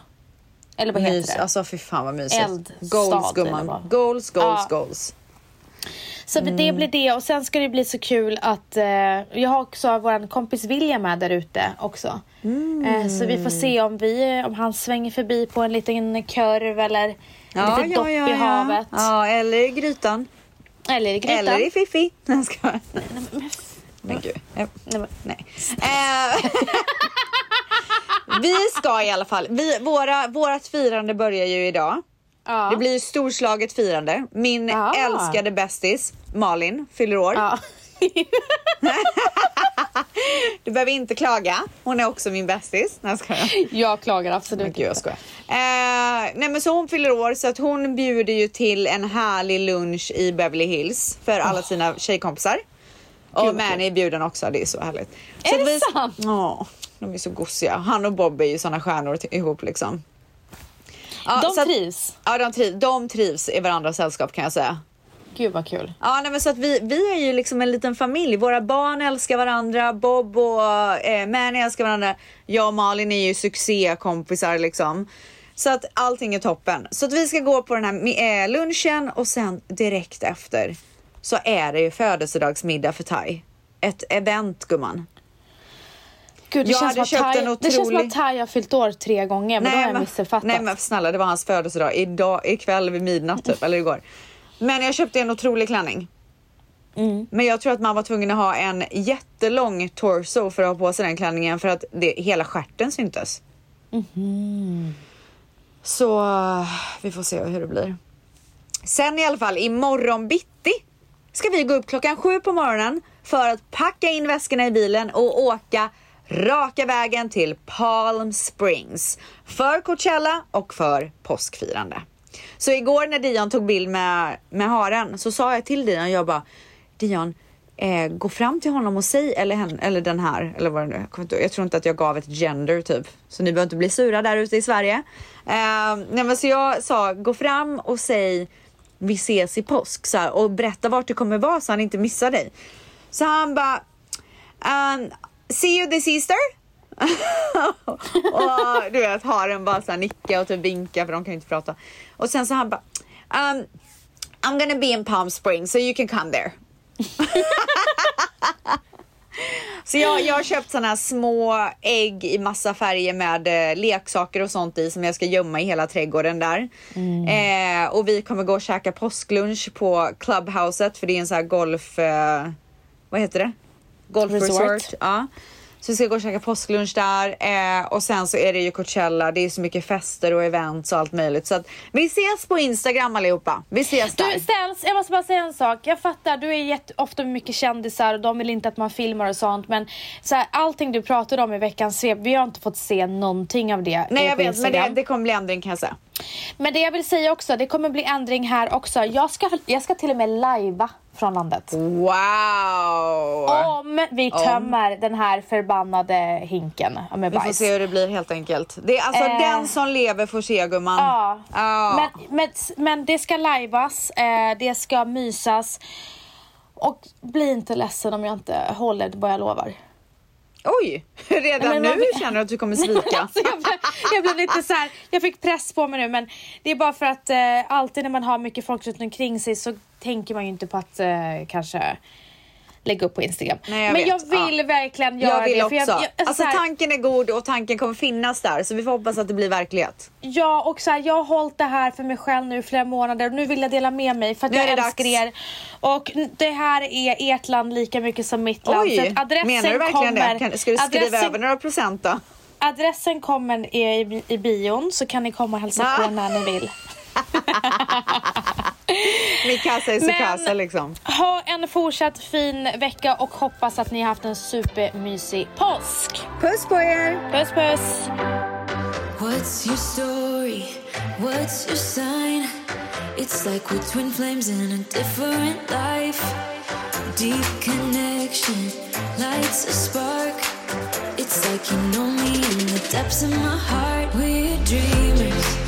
Speaker 1: Eller vad heter
Speaker 2: Mys,
Speaker 1: det?
Speaker 2: alltså fy fan vad mysigt.
Speaker 1: Eldstad
Speaker 2: goals
Speaker 1: blir det
Speaker 2: gumman.
Speaker 1: bara.
Speaker 2: Goals, goals,
Speaker 1: Ja.
Speaker 2: goals.
Speaker 1: Så
Speaker 2: Mm.
Speaker 1: det blir det och sen ska det bli så kul att eh, jag har också vår kompis William med där ute också. Eh,
Speaker 2: Mm.
Speaker 1: så vi får se om, vi, om han svänger förbi på en liten kurv eller ja, lite dopp i havet.
Speaker 2: Ja, eller i grytan.
Speaker 1: Eller i grytan.
Speaker 2: Eller i fiffi. Nej, jag skojar. Men gud. Ja.
Speaker 1: Nej, men-
Speaker 2: Nej. Eh, vi ska i alla fall. Vi, våra, vårat firande börjar ju idag.
Speaker 1: Ja.
Speaker 2: Det blir ju storslaget firande. Min
Speaker 1: Ah.
Speaker 2: älskade bästis Malin fyller år.
Speaker 1: ja.
Speaker 2: Du behöver inte klaga. Hon är också min bästis. Nej, jag skojar.
Speaker 1: Jag klagar absolut
Speaker 2: Men gud, jag
Speaker 1: inte.
Speaker 2: skojar. Eh, nej, men så hon fyller år så att hon bjuder ju till en härlig lunch i Beverly Hills för alla sina tjejkompisar. Och Mani är bjuden också, det är så härligt. Så
Speaker 1: Är
Speaker 2: att
Speaker 1: det
Speaker 2: vi-
Speaker 1: sant?
Speaker 2: Ja, de är så gosiga. Han och Bob är ju såna stjärnor t- ihop liksom. Ja,
Speaker 1: De
Speaker 2: så att-
Speaker 1: trivs.
Speaker 2: Ja, de, triv, de trivs i varandras sällskap kan jag säga.
Speaker 1: Gud vad kul.
Speaker 2: Ja, nej, men så att vi, vi är ju liksom en liten familj. Våra barn älskar varandra, Bob och eh, Mani älskar varandra. Jag och Malin är ju succékompisar liksom. Så att allting är toppen. Så att vi ska gå på den här mi- eh, lunchen och sen direkt efter så är det ju födelsedagsmiddag för Tai. ett event gumman.
Speaker 1: Gud, det,
Speaker 2: Jag
Speaker 1: känns
Speaker 2: hade
Speaker 1: som att
Speaker 2: köpt
Speaker 1: Thai,
Speaker 2: en
Speaker 1: det känns som
Speaker 2: otrolig-
Speaker 1: att Thai har fyllt år tre gånger, men då har jag missuppfattat.
Speaker 2: nej men snälla det var hans födelsedag idag, ikväll vid midnatt typ, eller igår. Men jag köpte en otrolig klänning.
Speaker 1: Mm.
Speaker 2: Men jag tror att man var tvungen att ha en jättelång torso för att ha på sig den klänningen för att det, hela stjärten syntes.
Speaker 1: Mhm.
Speaker 2: Så vi får se hur det blir. Sen i alla fall imorgon bitti ska vi gå upp klockan sju på morgonen för att packa in väskorna i bilen och åka raka vägen till Palm Springs för Coachella och för påskfirande. Så igår när Dion tog bild med, med haren så sa jag till Dion, jag bara Dion, eh, gå fram till honom och säg, eller, hen, eller den här, eller vad det nu är. Jag kommer inte ihåg. Jag tror inte att jag gav ett gender typ. Så ni behöver inte bli sura där ute i Sverige. Eh, nej men så jag sa, gå fram och säg vi ses i påsk så här, och berätta vart du kommer vara så han inte missar dig. Så han bara, um, see you this Easter? och du vet haren bara så här nickar och typ vinkar för de kan ju inte prata. Och sen så han bara, um, I'm gonna be in Palm Springs so you can come there. Så jag, jag har köpt såna här små ägg i massa färger med eh, leksaker och sånt i som jag ska gömma i hela trädgården där. Eh, och vi kommer gå och käka påsklunch på clubhouset för det är en sån här golf... Eh, vad heter det? Golfresort.
Speaker 1: Resort.
Speaker 2: Ja. Så vi ska gå och käka påsklunch där eh, och sen så är det ju Coachella, det är så mycket fester och events och allt möjligt. Så att vi ses på Instagram allihopa. Vi ses där.
Speaker 1: Du ställs, jag måste bara säga en sak. Jag fattar, du är jätte, ofta med mycket kändisar och de vill inte att man filmar och sånt. Men så här, allting du pratade om i veckans svep, vi har inte fått se någonting av det
Speaker 2: Nej
Speaker 1: eh, på
Speaker 2: jag vet men det,
Speaker 1: Instagram.
Speaker 2: det kommer bli ändring kan jag säga.
Speaker 1: Men det jag vill säga också, det kommer bli ändring här också. Jag ska, jag ska till och med lajva från landet.
Speaker 2: Wow!
Speaker 1: Om vi tömmer den här förbannade hinken med
Speaker 2: Vi får
Speaker 1: bajs.
Speaker 2: se hur det blir helt enkelt. Det är alltså
Speaker 1: Eh.
Speaker 2: den som lever får se gumman.
Speaker 1: Ja.
Speaker 2: Ja.
Speaker 1: Men, men, men det ska lajvas, eh, det ska mysas. Och bli inte ledsen om jag inte håller vad jag lovar.
Speaker 2: Oj, redan
Speaker 1: Men
Speaker 2: nu
Speaker 1: man vet-
Speaker 2: känner du att du kommer svika.
Speaker 1: Alltså jag, blev, jag blev lite så här, jag fick press på mig nu men det är bara för att eh, alltid när man har mycket folk runt omkring sig så tänker man ju inte på att eh, kanske lägga upp på Instagram.
Speaker 2: Nej, jag
Speaker 1: men
Speaker 2: vet.
Speaker 1: jag vill
Speaker 2: Ja.
Speaker 1: verkligen göra
Speaker 2: jag vill
Speaker 1: det.
Speaker 2: också. alltså
Speaker 1: så här-
Speaker 2: tanken är god och tanken kommer finnas där så vi får hoppas att det blir verklighet.
Speaker 1: Ja, och så här, jag har hållit det här för mig själv nu i flera månader och nu vill jag dela med mig för att
Speaker 2: Nu är
Speaker 1: jag
Speaker 2: det
Speaker 1: älskar
Speaker 2: dags.
Speaker 1: er. Och n- det här är ert land lika mycket som mitt land. så
Speaker 2: Oj,
Speaker 1: att adressen
Speaker 2: menar du verkligen
Speaker 1: kommer,
Speaker 2: det? Kan, ska du skriva
Speaker 1: adressen,
Speaker 2: över några procent då?
Speaker 1: Adressen kommer i, i, i bion så kan ni komma och hälsa
Speaker 2: Ah.
Speaker 1: på när ni vill.
Speaker 2: Mikasa är
Speaker 1: Men-
Speaker 2: Sukasa liksom.
Speaker 1: Ha en fortsatt fin vecka och hoppas att ni har haft en supermysig påsk.
Speaker 2: Puss på er!
Speaker 1: Puss puss!
Speaker 3: What's your story? What's your sign? It's like we're twin flames in a different life. Deep connection lights a spark. It's like you know me in the depths of my heart. We're dreamers,